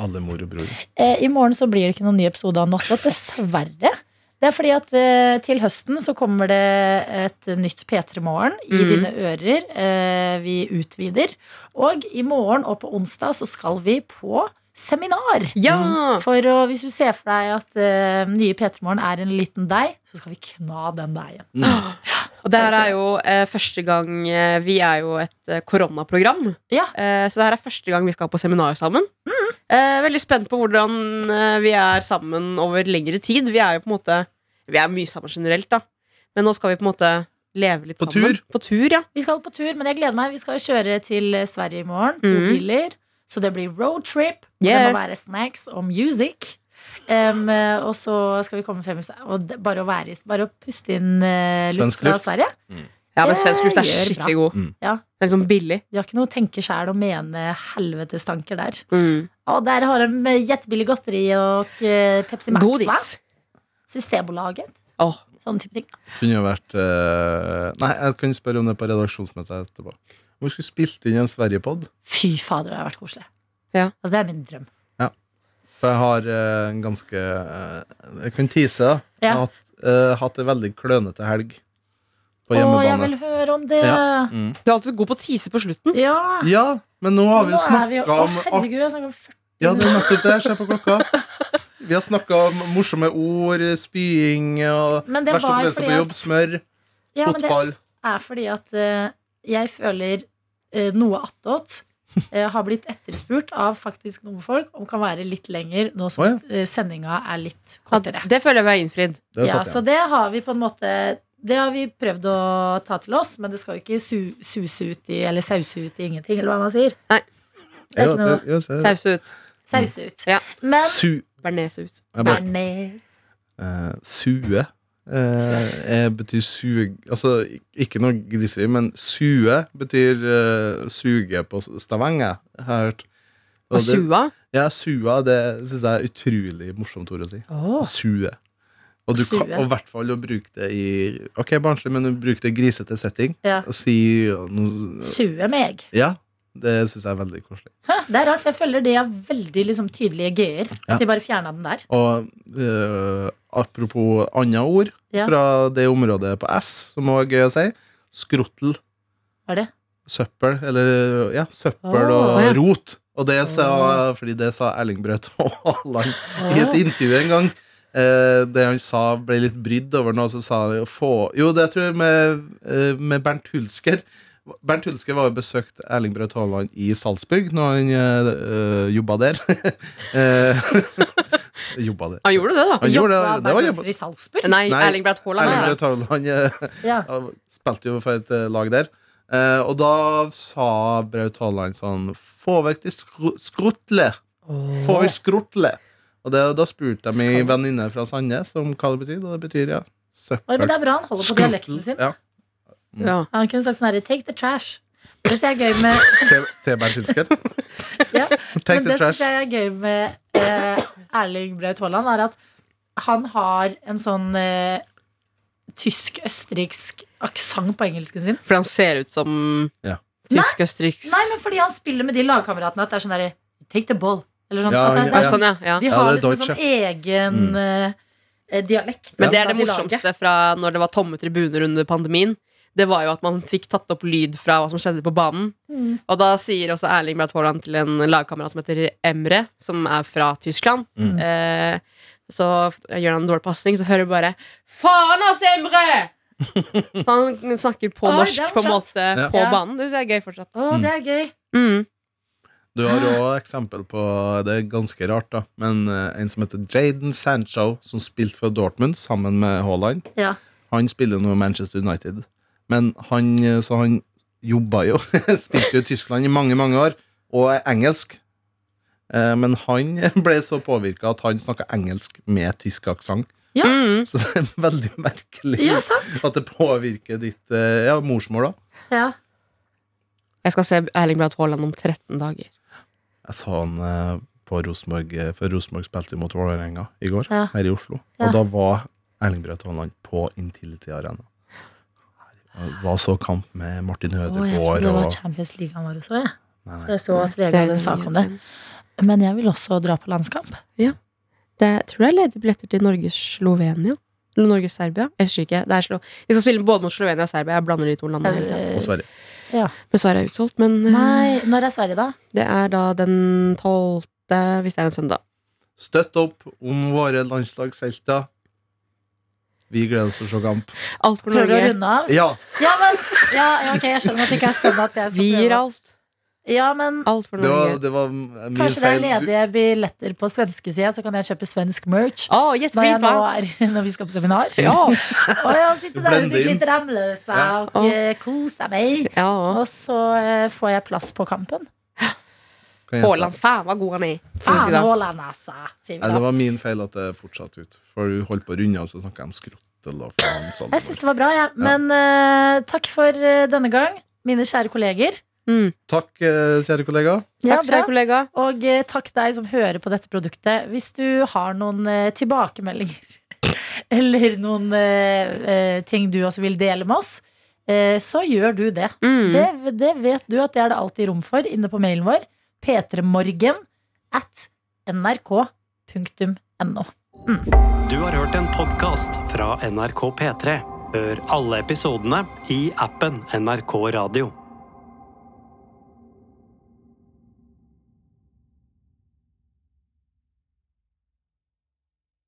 Speaker 4: Alle mor og bror.
Speaker 2: Eh, I morgen så blir det ikke noen ny episode av Nattått, dessverre. Det er fordi at eh, til høsten så kommer det et nytt P3 Morgen i
Speaker 3: Mm.
Speaker 2: dine ører. Eh, vi utvider. Og i morgen og på onsdag så skal vi på seminar.
Speaker 3: Ja!
Speaker 2: For å, hvis du ser for deg at eh, nye P3 Morgen er en liten deig, så skal vi kna den deigen.
Speaker 3: Og det her er jo eh, første gang eh, Vi er jo et eh, koronaprogram.
Speaker 2: Ja.
Speaker 3: Eh, så det her er første gang vi skal på seminar sammen. Eh, veldig spent på hvordan eh, vi er sammen over lengre tid. Vi er jo på en måte Vi er mye sammen generelt, da. Men nå skal vi på en måte leve litt
Speaker 4: På
Speaker 3: sammen.
Speaker 4: tur.
Speaker 3: På tur, ja.
Speaker 2: Vi skal på tur, men jeg gleder meg. Vi skal jo kjøre til eh, Sverige i morgen. To
Speaker 3: Mhm.
Speaker 2: biler. Så det blir roadtrip. og Det
Speaker 3: Yeah.
Speaker 2: må være snacks og music. Em, eh, og så skal vi komme frem og det- Bare å, være, i- bare å puste inn eh, luft
Speaker 4: Svensk
Speaker 2: fra
Speaker 4: luft.
Speaker 2: Sverige.
Speaker 4: Mm.
Speaker 3: Ja, men svensk luft er
Speaker 2: Jeg gjør bra.
Speaker 3: skikkelig god.
Speaker 4: Mm.
Speaker 2: Ja.
Speaker 3: Den er liksom billig.
Speaker 2: De har ikke noe tenke sjæl og mene helvetestanker der.
Speaker 3: Mm.
Speaker 2: Og der har de jettebillig godteri og eh, Pepsi Max. hva?
Speaker 3: Godis.
Speaker 2: Systembolaget.
Speaker 3: Åh,
Speaker 2: Sånne type ting.
Speaker 4: Kunne jo vært eh, Nei, jeg kan spørre om det på redaksjonsmøtet etterpå. Om vi skulle spilt inn en Sverigepod.
Speaker 2: Fy fader, det har vært koselig.
Speaker 3: Ja.
Speaker 2: Altså, det er min drøm.
Speaker 4: For jeg har eh, en ganske eh, Jeg kan tease. da. Jeg har
Speaker 2: Ja.
Speaker 4: hatt, eh, hatt en veldig klønete helg på
Speaker 2: Å, jeg
Speaker 4: hjemmebane.
Speaker 2: vil høre om det.
Speaker 4: Ja.
Speaker 2: Ja.
Speaker 4: Mm.
Speaker 3: Du er alltid god på å tease på slutten.
Speaker 4: Ja, men nå har vi jo
Speaker 2: Nå er vi jo-
Speaker 4: snakka
Speaker 2: Å,
Speaker 4: om alt-
Speaker 2: herregud, jeg snakker om 40
Speaker 4: Ja, det er nettopp det. Se på klokka. Vi har snakka om morsomme ord, spying og
Speaker 2: Men det
Speaker 4: verste
Speaker 2: var
Speaker 4: opplevelse
Speaker 2: fordi
Speaker 4: på
Speaker 2: at-
Speaker 4: jobb, smør,
Speaker 2: ja, men det
Speaker 4: fotball.
Speaker 2: er fordi at eh, jeg føler eh, noe attåt eh, har blitt etterspurt av faktisk noen folk om kan være litt lenger nå som
Speaker 4: Å,
Speaker 2: eh, sendinga er litt
Speaker 3: Ja,
Speaker 2: kortere.
Speaker 3: det føler jeg vi har innfridd.
Speaker 4: Det har
Speaker 2: Ja,
Speaker 4: tatt
Speaker 2: så
Speaker 4: igjen.
Speaker 2: det har vi på en måte Det har vi prøvd å ta til oss, men det skal jo ikke su suse ut i Eller sause ut i ingenting, eller hva man sier. det er
Speaker 4: Jo,
Speaker 2: ikke noe-
Speaker 4: det- jo, se-
Speaker 3: Saus ut.
Speaker 2: Sause ut.
Speaker 3: Ja.
Speaker 2: Men
Speaker 4: Su...
Speaker 3: Bearnés ut.
Speaker 4: Jeg bare,
Speaker 2: Bernes
Speaker 4: eh, sue eh, eh, betyr suge Altså ikke noe griseri, men sue betyr eh, suge på Stavanger, har jeg hørt.
Speaker 3: Og
Speaker 4: det-
Speaker 3: sua.
Speaker 4: Ja, sua, det syns jeg er utrolig morsomt ord å si.
Speaker 2: Åh,
Speaker 4: Sue. Og du kan,
Speaker 2: Sue.
Speaker 4: og i hvert fall å bruke det i Ok, barnslig, men å bruke det i grisete setting.
Speaker 2: Ja.
Speaker 4: Og si og noe
Speaker 2: Sue meg.
Speaker 4: Ja. Det syns jeg er veldig koselig.
Speaker 2: Hæ, det er rart, for jeg føler de har veldig liksom, tydelige g-er.
Speaker 4: Ja.
Speaker 2: At de bare fjerna den der.
Speaker 4: Og eh, apropos andre ord
Speaker 2: Ja.
Speaker 4: fra det området på S, som òg er gøy å si. Skrottel.
Speaker 2: Hva er det?
Speaker 4: Søppel. Eller ja, søppel
Speaker 2: Åh,
Speaker 4: og
Speaker 3: ja.
Speaker 4: rot. Og det sa, fordi det sa Erling Braut <laughs> Haaland i et intervju en gang. Eh, det han sa, ble litt brydd over noe, så sa han jo få Jo, det tror jeg med, eh, med Bernt Hulsker. Bernt Hulsker var jo besøkt Erling Braut Haaland i Salzburg når han eh, eh, jobba der. <laughs> Eh, <laughs> jobba der.
Speaker 3: Han gjorde det, da.
Speaker 4: Han
Speaker 2: Jobba
Speaker 4: gjorde det, det var
Speaker 2: Bernt
Speaker 4: jobba.
Speaker 2: Hulsker i Salzburg?
Speaker 3: Nei,
Speaker 4: Nei.
Speaker 3: Erling Braut Haaland.
Speaker 4: Erling
Speaker 3: ja.
Speaker 4: Braut Haaland eh,
Speaker 2: Ja.
Speaker 4: han spilte jo for et eh, lag der. Eh, og da sa Braut Haaland sånn Få vekk de skru- skrutle! Få vekk skrutle! Og det, da spurte jeg min
Speaker 2: Skal-
Speaker 4: venninne fra Sandnes om hva det betyr, og det betyr ja,
Speaker 2: Oi, men
Speaker 4: søppel.
Speaker 2: det er bra han holder på dialekten sin.
Speaker 4: Ja.
Speaker 3: Ja.
Speaker 4: Mm.
Speaker 2: Han kunne sagt sånn herre Take the trash. Det synes jeg er gøy med,
Speaker 4: T- T-Bernt Hilsker.
Speaker 2: <laughs> Ja,
Speaker 4: <laughs> Take
Speaker 2: men
Speaker 4: the
Speaker 2: det synes
Speaker 4: trash.
Speaker 2: jeg er gøy med eh, Erling Braut Haaland, er at han har en sånn eh, tysk-østerriksk aksent på engelsken sin.
Speaker 3: For han ser ut som
Speaker 4: Ja.
Speaker 3: tysk-østerriks.
Speaker 2: Nei, men fordi han spiller med de lagkameratene at det er sånn herre Take the ball. Eller sånn.
Speaker 4: Ja,
Speaker 2: at det,
Speaker 4: ja,
Speaker 2: det
Speaker 3: Ja,
Speaker 2: er
Speaker 3: sånn, ja. ja.
Speaker 2: De
Speaker 4: Ja,
Speaker 2: har
Speaker 4: det er Mm.
Speaker 2: liksom sånn egen eh, dialekt.
Speaker 3: Men det er
Speaker 2: da de
Speaker 3: det
Speaker 2: lager.
Speaker 3: morsomste fra når det var tomme tribuner under pandemien. Det var jo at man fikk tatt opp lyd fra hva som skjedde på banen.
Speaker 2: Mm.
Speaker 3: Og da sier også Erling Braut Haaland til en lagkamerat som heter Emre, som er fra Tyskland.
Speaker 4: Mm.
Speaker 3: Eh, så gjør han en dårlig pasning, så hører du bare 'Faen ass,
Speaker 2: <laughs>
Speaker 3: Emre!' Så han snakker på
Speaker 2: Oi, det
Speaker 3: norsk
Speaker 2: er
Speaker 3: på
Speaker 2: morsomt.
Speaker 3: en måte
Speaker 4: Ja.
Speaker 3: på
Speaker 2: Ja.
Speaker 3: banen. Det syns jeg er gøy fortsatt.
Speaker 2: Å, det er gøy.
Speaker 3: Mm.
Speaker 4: Du har òg eksempel på eh, Det er ganske rart, da. Men eh, en som heter Jaden Sancho, som spilte for Dortmund sammen med Haaland,
Speaker 2: Ja.
Speaker 4: han spiller nå i Manchester United. Men han, eh, så han jobba jo <laughs> Spilte jo i Tyskland i mange, mange år, og er engelsk. Eh, Men han <laughs> ble så påvirka at han snakka engelsk med tysk aksent.
Speaker 2: Ja.
Speaker 3: Mm.
Speaker 4: Så det er veldig merkelig
Speaker 2: ja, sant?
Speaker 4: at det påvirker ditt eh, ja, morsmål, da.
Speaker 2: Ja.
Speaker 3: Jeg skal se Erling Braut Haaland om 13 dager.
Speaker 4: Jeg så han eh, på Rosenborg eh, For Rosenborg spilte jo mot Vålerenga i går
Speaker 2: Ja.
Speaker 4: Her i Oslo
Speaker 2: Ja.
Speaker 4: Og da var Erling Braut Haaland på Intility Arena Han var så kamp med Martin
Speaker 2: Å, jeg trodde
Speaker 4: Hødegård
Speaker 2: det var
Speaker 4: og...
Speaker 2: Champions League han var også, jeg.
Speaker 4: Nei,
Speaker 2: For
Speaker 4: nei.
Speaker 2: Jeg så at VG hadde en sak om det. Men jeg vil også dra på landskamp.
Speaker 3: Det er, tror jeg er ledige billetter til Norge-Slovenia. Eller Norge-Serbia. Jeg husker ikke. Det er Slo Vi skal spille både mot Slovenia og Serbia. Jeg blander de to landene. hele tiden.
Speaker 4: Og Sverige
Speaker 3: Dessverre er utsolgt, men eh,
Speaker 2: Eh, Nei, når er Sverige, da?
Speaker 3: det er da den tolvte, hvis det er en søndag.
Speaker 4: Støtt opp om våre landslagshelter Vi gleder oss til å se kamp
Speaker 3: Alt for
Speaker 2: Prøver du å
Speaker 3: Norge.
Speaker 2: runde av?
Speaker 4: Ja,
Speaker 2: Ja, men ja, ja, ok, jeg skjønner at det ikke er spennende at jeg skal
Speaker 3: Vi gir
Speaker 2: prøve.
Speaker 3: alt.
Speaker 2: Ja, men
Speaker 3: Alt for
Speaker 4: det var,
Speaker 3: Norge.
Speaker 4: det var min
Speaker 2: kanskje det er
Speaker 4: feil Du-
Speaker 2: ledige billetter på svenskesida, så kan jeg kjøpe svensk merch.
Speaker 3: Å, yes,
Speaker 2: Når, jeg
Speaker 3: fint,
Speaker 2: nå
Speaker 3: hva?
Speaker 2: er, <laughs> når vi skal på seminar.
Speaker 3: Ja.
Speaker 2: <laughs> Og jeg sitter der ute
Speaker 4: Blende
Speaker 2: i
Speaker 4: inn.
Speaker 2: litt ramløsa
Speaker 4: Ja.
Speaker 2: og eh, koser meg.
Speaker 3: ja.
Speaker 2: Og så eh, får jeg plass på kampen.
Speaker 4: kan jeg gjenta.
Speaker 3: Haaland, faen hva god han er. Får vi si
Speaker 2: Faen
Speaker 3: da.
Speaker 2: Haaland, altså! Sier
Speaker 4: Nei,
Speaker 2: vi
Speaker 4: det
Speaker 2: da.
Speaker 4: var min feil at det fortsatte ut. For du holdt på å runde, og så snakka jeg om skrottel og faen. sånn.
Speaker 2: Jeg syns det var bra, jeg. Men eh, takk for eh, denne gang, mine kjære kolleger.
Speaker 3: Mm.
Speaker 4: Takk, eh, kjære kollega.
Speaker 2: Ja,
Speaker 3: Takk,
Speaker 2: bra.
Speaker 3: kjære kollega.
Speaker 2: Og eh, takk deg som hører på dette produktet. Hvis du har noen eh, tilbakemeldinger <laughs> eller noen eh, eh, ting du også vil dele med oss, eh, så gjør du det.
Speaker 3: Mm.
Speaker 2: det. Det vet du at det er det alltid rom for inne på mailen vår. p3morgen at nrk.no.
Speaker 1: Du har hørt en podkast fra NRK P3. Hør alle episodene i appen NRK Radio.